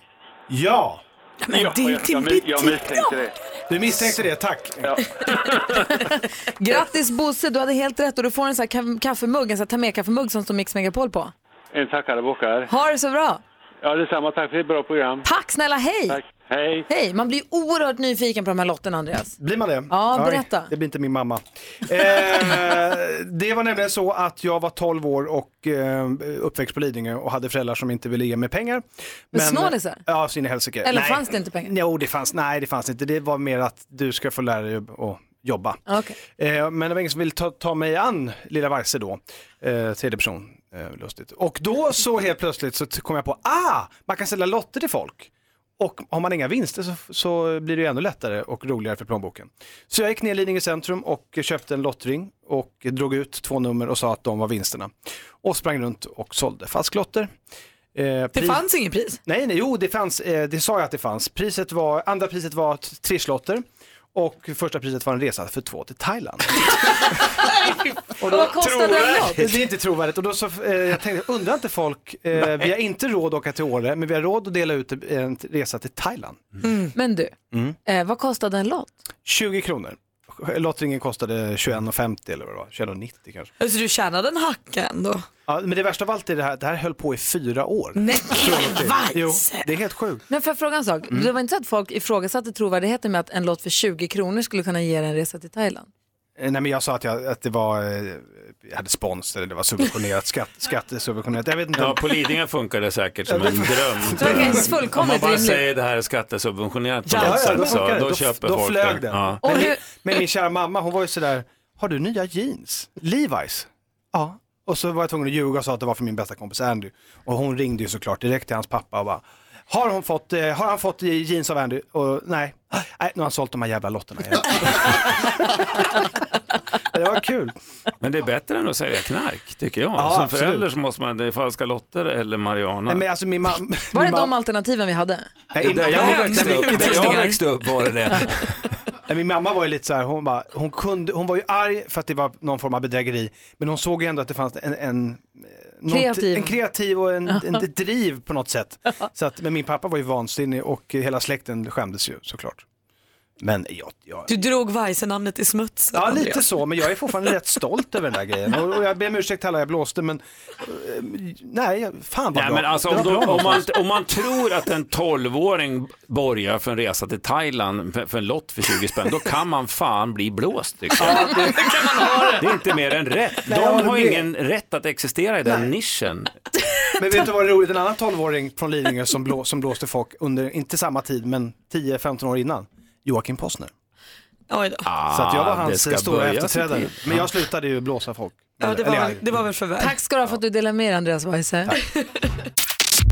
Ja! Men ja, det är jag- till jag, mis- jag misstänkte det. Du misstänkte det, tack. Grattis Bosse, du hade helt rätt och du får en sån här ka- kaffemugg, en sån här ta med kaffemugg som står Mix Megapol på. En tackarbockar. Ha det så bra! Ja, detsamma. Tack för ett bra program. Tack snälla, hej! Tack. Hej. Hej, man blir oerhört nyfiken på de här lotterna Andreas. Blir man det? Ja, Aj, berätta. det blir inte min mamma. Eh, det var nämligen så att jag var 12 år och eh, uppväxt på Lidingö och hade föräldrar som inte ville ge mig pengar. Men snålisar? Ja, så in i helsike. Eller Nej. fanns det inte pengar? Jo, det fanns, nej, det fanns inte. Det var mer att du ska få lära dig att jobba. Okej. Eh, men det var ingen som ville ta, ta mig an lilla Varse då, eh, tredje person, eh, lustigt. Och då så helt plötsligt så t- kom jag på, ah, man kan sälja lotter till folk. Och har man inga vinster så, så blir det ju ännu lättare och roligare för plånboken. Så jag gick ner i Lidingö centrum och köpte en lottring och drog ut två nummer och sa att de var vinsterna. Och sprang runt och sålde falsklotter. Eh, Det pri- fanns ingen pris. Nej, nej, jo det fanns, eh, det sa jag att det fanns. Priset var, andra priset var t- tre slotter och första priset var en resa för två till Thailand. Och vad kostade den Trovärdigt. lott? Det är inte trovärdigt. Och då så, eh, jag tänkte, undrar inte folk, eh, vi har inte råd att åka till Åre, men vi har råd att dela ut en resa till Thailand. Men du, eh, vad kostade en lott? 20 kronor. Lottringen kostade 21,50 eller vad det var, 21,90 kanske. Alltså du tjänade en hacka ändå. Ja, men det värsta av allt är det här, det här höll på i fyra år. Nej, Från och till. vad? Jo, det är helt sjukt. Men får jag fråga en sak? Mm. Det var inte så att folk ifrågasatte trovärdigheten med att en lott för 20 kronor skulle kunna ge dig en resa till Thailand? Eh, Nej men jag sa att, jag, att det var, eh, jag hade spons eller det var subventionerat, skatt, skattesubventionerat. Jag vet inte. Ja, på Lidingö funkar det säkert som en dröm. Det verkar fullkomligt Om man bara rimligt. säger det här är skattesubventionerat på Ja, något ja, då sätt, så funkar det. då Då- köper då folk flög det. den. Ja. Men, min, men min kära mamma hon var ju sådär, har du nya jeans? Levi's? Ja. Och så var jag tvungen att ljuga och sa att det var för min bästa kompis Andy. Och hon ringde ju såklart direkt till hans pappa och bara, har, hon fått, eh, har han fått jeans av Andy? Och nej, nej nu har han sålt de här jävla lotterna igen. det var kul. Men det är bättre än att sälja knark, tycker jag. Ja, Som absolut. förälder så måste man, det är falska lotter eller marijuana. Nej, men alltså min mamma... Var det Mm. min mamma- de alternativen vi hade? Nej, där jag växte upp- där jag växte upp var det det. Nej, min mamma var ju lite så här, hon, bara, hon, kunde, hon var ju arg för att det var någon form av bedrägeri, men hon såg ju ändå att det fanns en, en, eh, något- Kreativ. en kreativ och en, en ett driv på något sätt. Så att, men min pappa var ju vansinnig och hela släkten skämdes ju såklart. Men jag, jag Du drog Weise-namnet i smutsen. Ja, Andreas. lite så, men jag är fortfarande rätt stolt över den där grejen. Och, och jag ber om ursäkt till alla jag blåste, men eh, nej, jag- fan vad Nej, bra. men alltså, Det om, var då, bra om, man, någonstans. om man tror att en 12-åring borgar för en resa till Thailand för, för en lott för 20 spänn, då kan man fan bli blåst. Tycker jag. Det är inte mer än rätt. Nej, jag De håller har med. ingen rätt att existera i den nischen. Men vet du vad det är roligt? En annan 12-åring från Lidingö som, blå, som blåste folk under, inte samma tid, men 10-15 år innan. Joakim Possner. Oj då. Så att jag var Ah, det hans ska stora börja så efterträdare. tidigt. Men jag slutade ju blåsa folk. Ja, det, Eller, var, ja, väl- det var väl förvärv. Tack ska du ha för att du delar med dig Andreas Weise.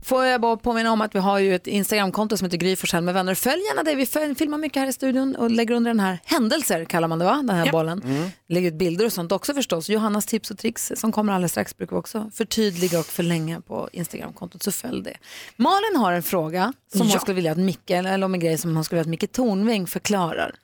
Får jag bara påminna om att vi har ju ett Instagramkonto som heter Gry Forssell med vänner. Följ gärna det, vi föl- filmar mycket här i studion och lägger under den här händelser kallar man det va, den här bollen. Lägger ut bilder och sånt också förstås. Johannas tips och tricks som kommer alldeles strax brukar vi också förtydliga och förlänga på Instagramkontot så följ det. Malin har en fråga som hon Ja. skulle vilja att Micke, eller om en grej som hon skulle vilja att Micke Tornving förklarar.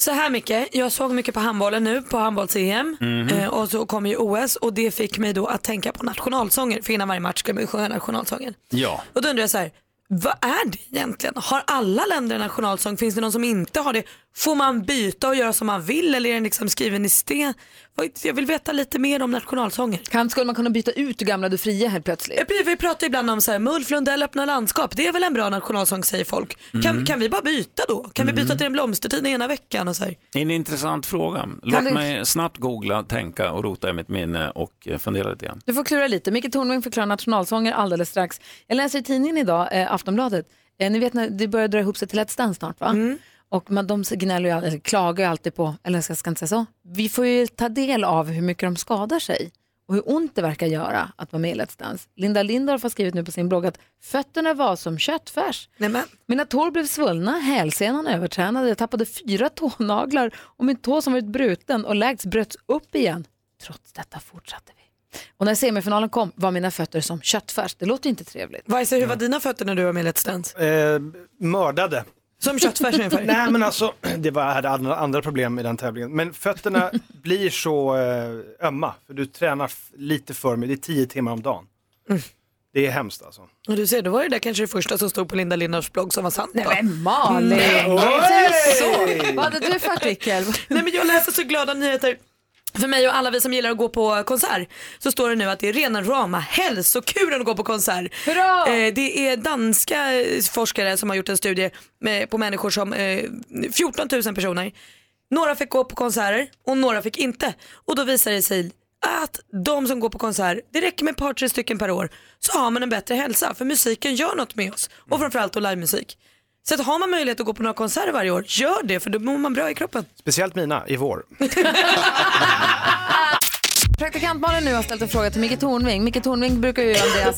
Så här mycket, jag såg mycket på handbollen nu på handbolls-EM Mhm. eh, och så kom ju OS och det fick mig då att tänka på nationalsånger för innan varje match ska man ju sjunga nationalsången. Ja. Och då undrar jag så här, vad är det egentligen? Har alla länder en nationalsång? Finns det någon som inte har det? Får man byta och göra som man vill eller är den liksom skriven i sten? Vad- Jag vill veta lite mer om nationalsånger. Eh, Kan, skulle man kunna byta ut gamla du fria helt plötsligt? Vi pratar ibland om så här, Mulf Lundell öppnar landskap, det är väl en bra nationalsång säger folk. Kan, Mm. kan vi bara byta då? Kan vi byta Mm. till en blomstertid ena veckan och så här? En intressant fråga. Låt Kan du- mig snabbt googla, tänka och rota i mitt minne och eh, fundera lite grann. Du får klura lite. Micke Tornving förklarar nationalsånger alldeles strax. Jag läser i tidningen idag, eh, Aftonbladet. Eh, ni vet när det börjar dra ihop sig till Let's Dance snart va? Och man, de gnäller ju, all- eller klagar ju alltid på, eller jag ska inte säga så, vi får ju ta del av hur mycket de skadar sig och hur ont det verkar göra att vara med i Let's Dance. Linda Lindorff har skrivit nu på sin blogg att fötterna var som köttfärs. Mina tår blev svullna, hälsenan övertränad, jag tappade fyra tånaglar och min tå som varit bruten och lägst bröts upp igen. Trots detta fortsatte vi. Och när semifinalen kom var mina fötter som köttfärs. Det låter ju inte trevligt. Vajse, hur var dina fötter när du var med i Let's Dance? Eh, mördade. Som köttfärs ungefär? Nej men alltså, det var, jag hade andra, andra problem i den tävlingen. Men fötterna blir så eh, ömma, för du tränar f- lite för mycket, det är tio timmar om dagen. Det är hemskt alltså. Och du ser, då var det där kanske det första som stod på Linda Lindorffs blogg som var sant. Nej men Malin! Oj! Vad hade du för artikel? Nej men jag läser så glada nyheter. För mig och alla vi som gillar att gå på konsert så står det nu att det är rena rama hälsokuren att gå på konsert. Eh, det är danska eh, forskare som har gjort en studie med, på människor som, eh, 14 000 personer. Några fick gå på konserter och några fick inte. Och då visar det sig att de som går på konsert, det räcker med ett par tre stycken per år så har man en bättre hälsa för musiken gör något med oss och framförallt då livemusik. Så att har man möjlighet att gå på några konserter varje år, gör det för då mår man bra i kroppen. Speciellt mina i vår. Praktikant Malin nu har ställt en fråga till Micke Tornving. Micke Tornving brukar ju Andreas...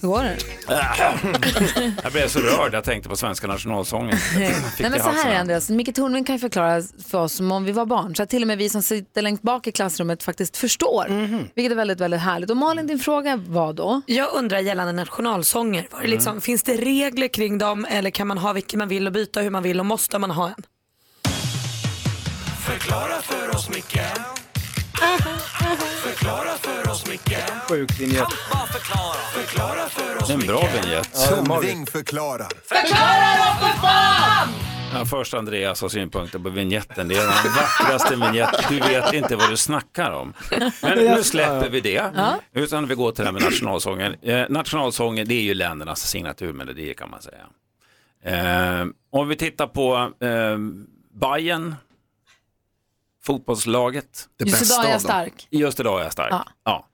Hur går det? jag blev så rörd, jag tänkte på svenska nationalsången. Fick Nej, men det så här är halsen. Andreas, Micke Tornving kan ju förklara för oss som om vi var barn, så att till och med vi som sitter längst bak i klassrummet faktiskt förstår. Mhm. Vilket är väldigt, väldigt härligt. Och Malin, din fråga var då? Jag undrar gällande nationalsånger, var det liksom, Mm. finns det regler kring dem eller kan man ha vilken man vill och byta hur man vill och måste man ha en? Förklara för oss, Micke. Förklara för oss, Micke. Sjuk linje. Förklara för Det är en bra vignett. Tornving förklarar. Ja, först Andreas har synpunkter på vignetten. Det är den vackraste vignett. Du vet inte vad du snackar om. Men nu släpper vi det. Ja. Utan vi går till det här med nationalsången. Eh, nationalsången det är ju ländernas signaturmelodier kan man säga. Eh, om vi tittar på eh, Bayern, fotbollslaget. Det Just bästa idag är jag av dem. stark. Just idag är jag stark. Ja. Ja.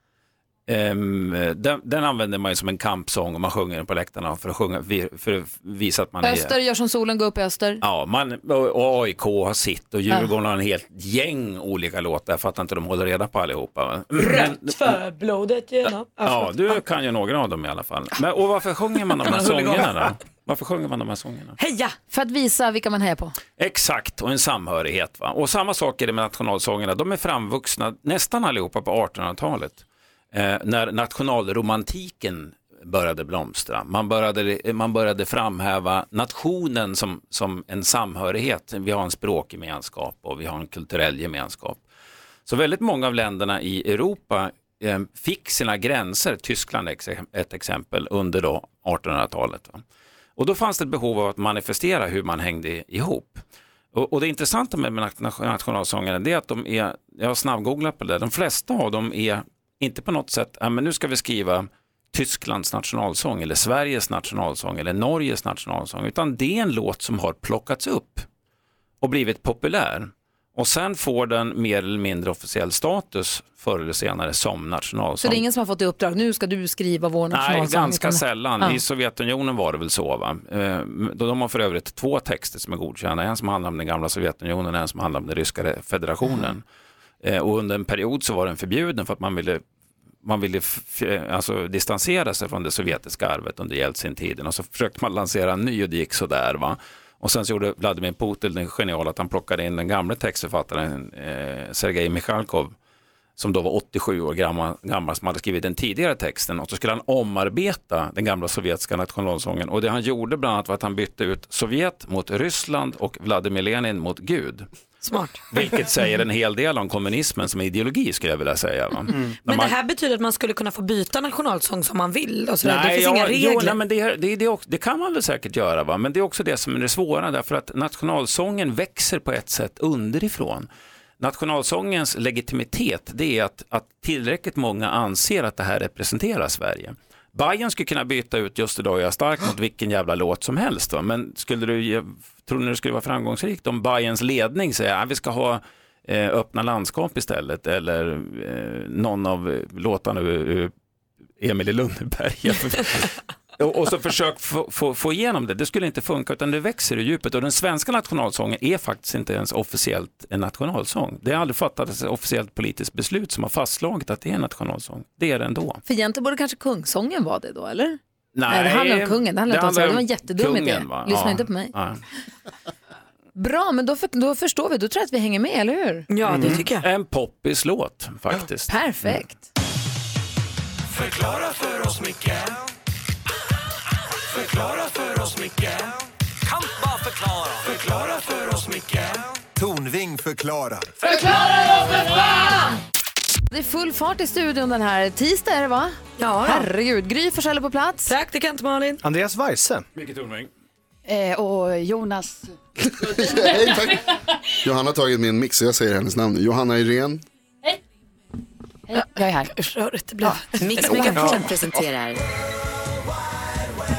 Ehm, den, den använder man ju som en kampsång och man sjunger den på läktarna för att, sjunga, för att visa att man är... Öster gör som solen, går upp i öster. Ja, man, och AIK har sitt och Djurgården har en helt gäng olika låtar. Jag fattar inte de håller reda på allihopa. va? Mm, Men, För blodet genom... ja, du kan ju några av dem i alla fall. Men, och varför sjunger man de här Man håller igång. sångerna då? Varför sjunger man de här sångerna? Heja! För att visa vilka man hejar på. Exakt, och en samhörighet. Va? Och samma sak är det med nationalsångerna. De är framvuxna nästan allihopa på 1800-talet. Eh, när nationalromantiken började blomstra. Man började, eh, man började framhäva nationen som, som en samhörighet. Vi har en språkgemenskap och vi har en kulturell gemenskap. Så väldigt många av länderna i Europa eh, fick sina gränser, Tyskland är ex- ett exempel, under då 1800-talet. Va? Och då fanns det ett behov av att manifestera hur man hängde ihop. Och, och det intressanta med med nation- nationalsångerna det är att de är, jag har snabbgooglat på det, där, de flesta av dem är inte på något sätt, "Ja, men nu ska vi skriva Tysklands nationalsång eller Sveriges nationalsång eller Norges nationalsång, utan det är en låt som har plockats upp och blivit populär. Och sen får den mer eller mindre officiell status förr eller senare som nationalsång. Så det är ingen som har fått i uppdrag, nu ska du skriva vår nationalsång. Nej, ganska utan- sällan. Ja. I Sovjetunionen var det väl så. Va? Eh, De har för övrigt två texter som är godkända. En som handlar om den gamla Sovjetunionen och en som handlar om den ryska federationen. Mm. Eh, Och under en period så var den förbjuden för att man ville man ville f- f- alltså, distansera sig från det sovjetiska arvet under Jeltsin-tiden och så försökte man lansera en ny och det gick sådär. Va? Och sen så gjorde Vladimir Putin den geniala att han plockade in den gamle textförfattaren eh, Sergej Michalkov som då var 87 år gammal, gammal som hade skrivit den tidigare texten och så skulle han omarbeta den gamla sovjetiska nationalsången och det han gjorde bland annat var att han bytte ut Sovjet mot Ryssland och Vladimir Lenin mot Gud. Smart. Vilket säger en hel del om kommunismen som ideologi skulle jag vilja säga. Va? När Mm. Men man- det här betyder att man skulle kunna få byta nationalsång som man vill och sådär. det Nej, finns ja, inga regler. Jo, nej, men det, det, det, också, det kan man väl säkert göra, va? men det är också det som är det svåra, därför att nationalsången växer på ett sätt underifrån. Nationalsångens legitimitet det är att, att tillräckligt många anser att det här representerar Sverige. Bayern skulle kunna byta ut Just idag är jag stark mot vilken jävla låt som helst. Va? Men skulle du, ge- tror ni det skulle vara framgångsrikt om Bayerns ledning säger att vi ska ha eh, öppna landskap istället eller eh, någon av eh, låtarna ur, ur Emil i Lönneberga. Och och så försök få, få, få igenom det. Det skulle inte funka utan det växer i djupet. Och den svenska nationalsången är faktiskt inte ens officiellt en nationalsång. Det har aldrig fattats ett officiellt politiskt beslut som har fastslagit att det är en nationalsång. Det är det ändå. För egentligen borde kanske kungsången vara det då, eller? det handlar om kungen. Det handlar inte om Sverige. Det var en jättedum idé. va? Lyssna inte på mig. nej. Bra, men då, för, då förstår vi. Då tror jag att vi hänger med, eller hur? Mm. En poppislåt faktiskt. Perfekt. Förklara för oss, Micke Förklara för oss, Micke Kan bara förklara Förklara för oss, Micke Tornving förklarar. Förklara då för fan! Det är full fart i studion den här tisdag, är det va? Ja. Herregud. Gry Forssell är på plats. Praktikant Malin. Andreas Weise. Micke Tornving. Eh, och Jonas. Johanna har tagit min mix så jag säger hennes namn. Johanna Irene. Hej, jag är här. Rörigt det blev. Mix Megapol presenterar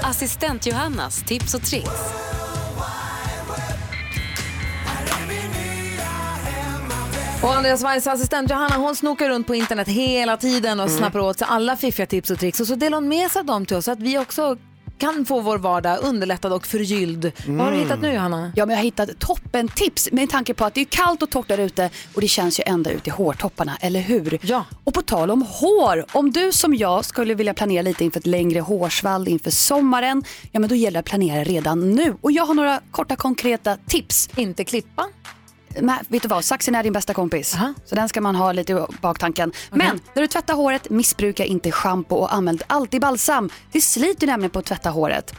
Assistent Johannas tips och tricks. Och Andreas Weiss assistent Johanna hon snokar runt på internet hela tiden och Mm. snappar åt sig alla fiffiga tips och tricks. Och så delar hon med sig av dem till oss så att vi också kan få vår vardag underlättad och förgylld. Vad Mm. har du hittat nu Johanna? Ja, men jag har hittat toppentips med tanke på att det är kallt och torrt där ute och det känns ju ända ut i hårtopparna, eller hur? Ja. Och på tal om hår, om du som jag skulle vilja planera lite inför ett längre hårsvall inför sommaren, ja men då gäller det att planera redan nu. Och jag har några korta konkreta tips. Inte klippa? Men, vet du vad, saxen är din bästa kompis. Så den ska man ha lite i baktanken. Men när du tvättar håret, missbruka inte schampo och använd alltid balsam. Det sliter ju nämligen på att tvätta håret.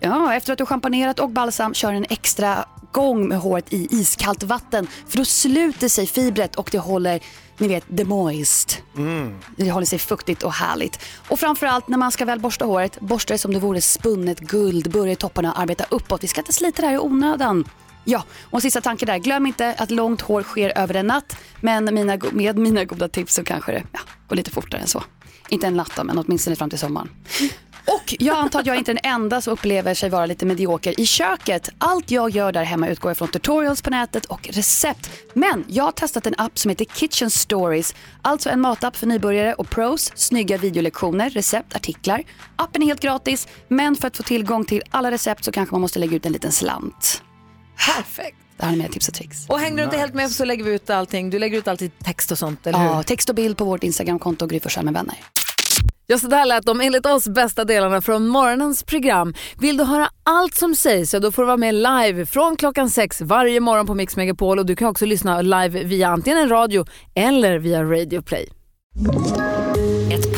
Ja, efter att du schamponerat och balsam kör en extra gång med håret i iskallt vatten för då sluter sig fibret och det håller, ni vet, the moist. Det håller sig fuktigt och härligt. Och framförallt när man ska väl borsta håret, borsta det som det vore spunnet guld. Börja i topparna och arbeta uppåt. Vi ska inte slita det här i onödan. Ja, och en sista tanke där. Glöm inte att långt hår sker över en natt. Men mina, go- med mina goda tips så kanske det ja, går lite fortare än så. Inte en natt då, men åtminstone fram till sommaren. Och jag antar att jag är inte den enda som upplever sig vara lite medioker i köket. Allt jag gör där hemma utgår från tutorials på nätet och recept. Men jag har testat en app som heter Kitchen Stories. Alltså en matapp för nybörjare och pros. Snygga videolektioner, recept, artiklar. Appen är helt gratis, men för att få tillgång till alla recept så kanske man måste lägga ut en liten slant. Perfekt. Det här är mina tips och tricks. Och hänger du inte helt med så lägger vi ut allting. Du lägger ut alltid text och sånt, eller hur? Ja, text och bild på vårt Instagramkonto Gry Forssell med vänner. Ja, så där lät de enligt oss bästa delarna från morgonens program. Vill du höra allt som sägs, ja, då får du vara med live från klockan sex varje morgon på Mix Megapol. Och du kan också lyssna live via antingen en radio eller via Radio Play. Ett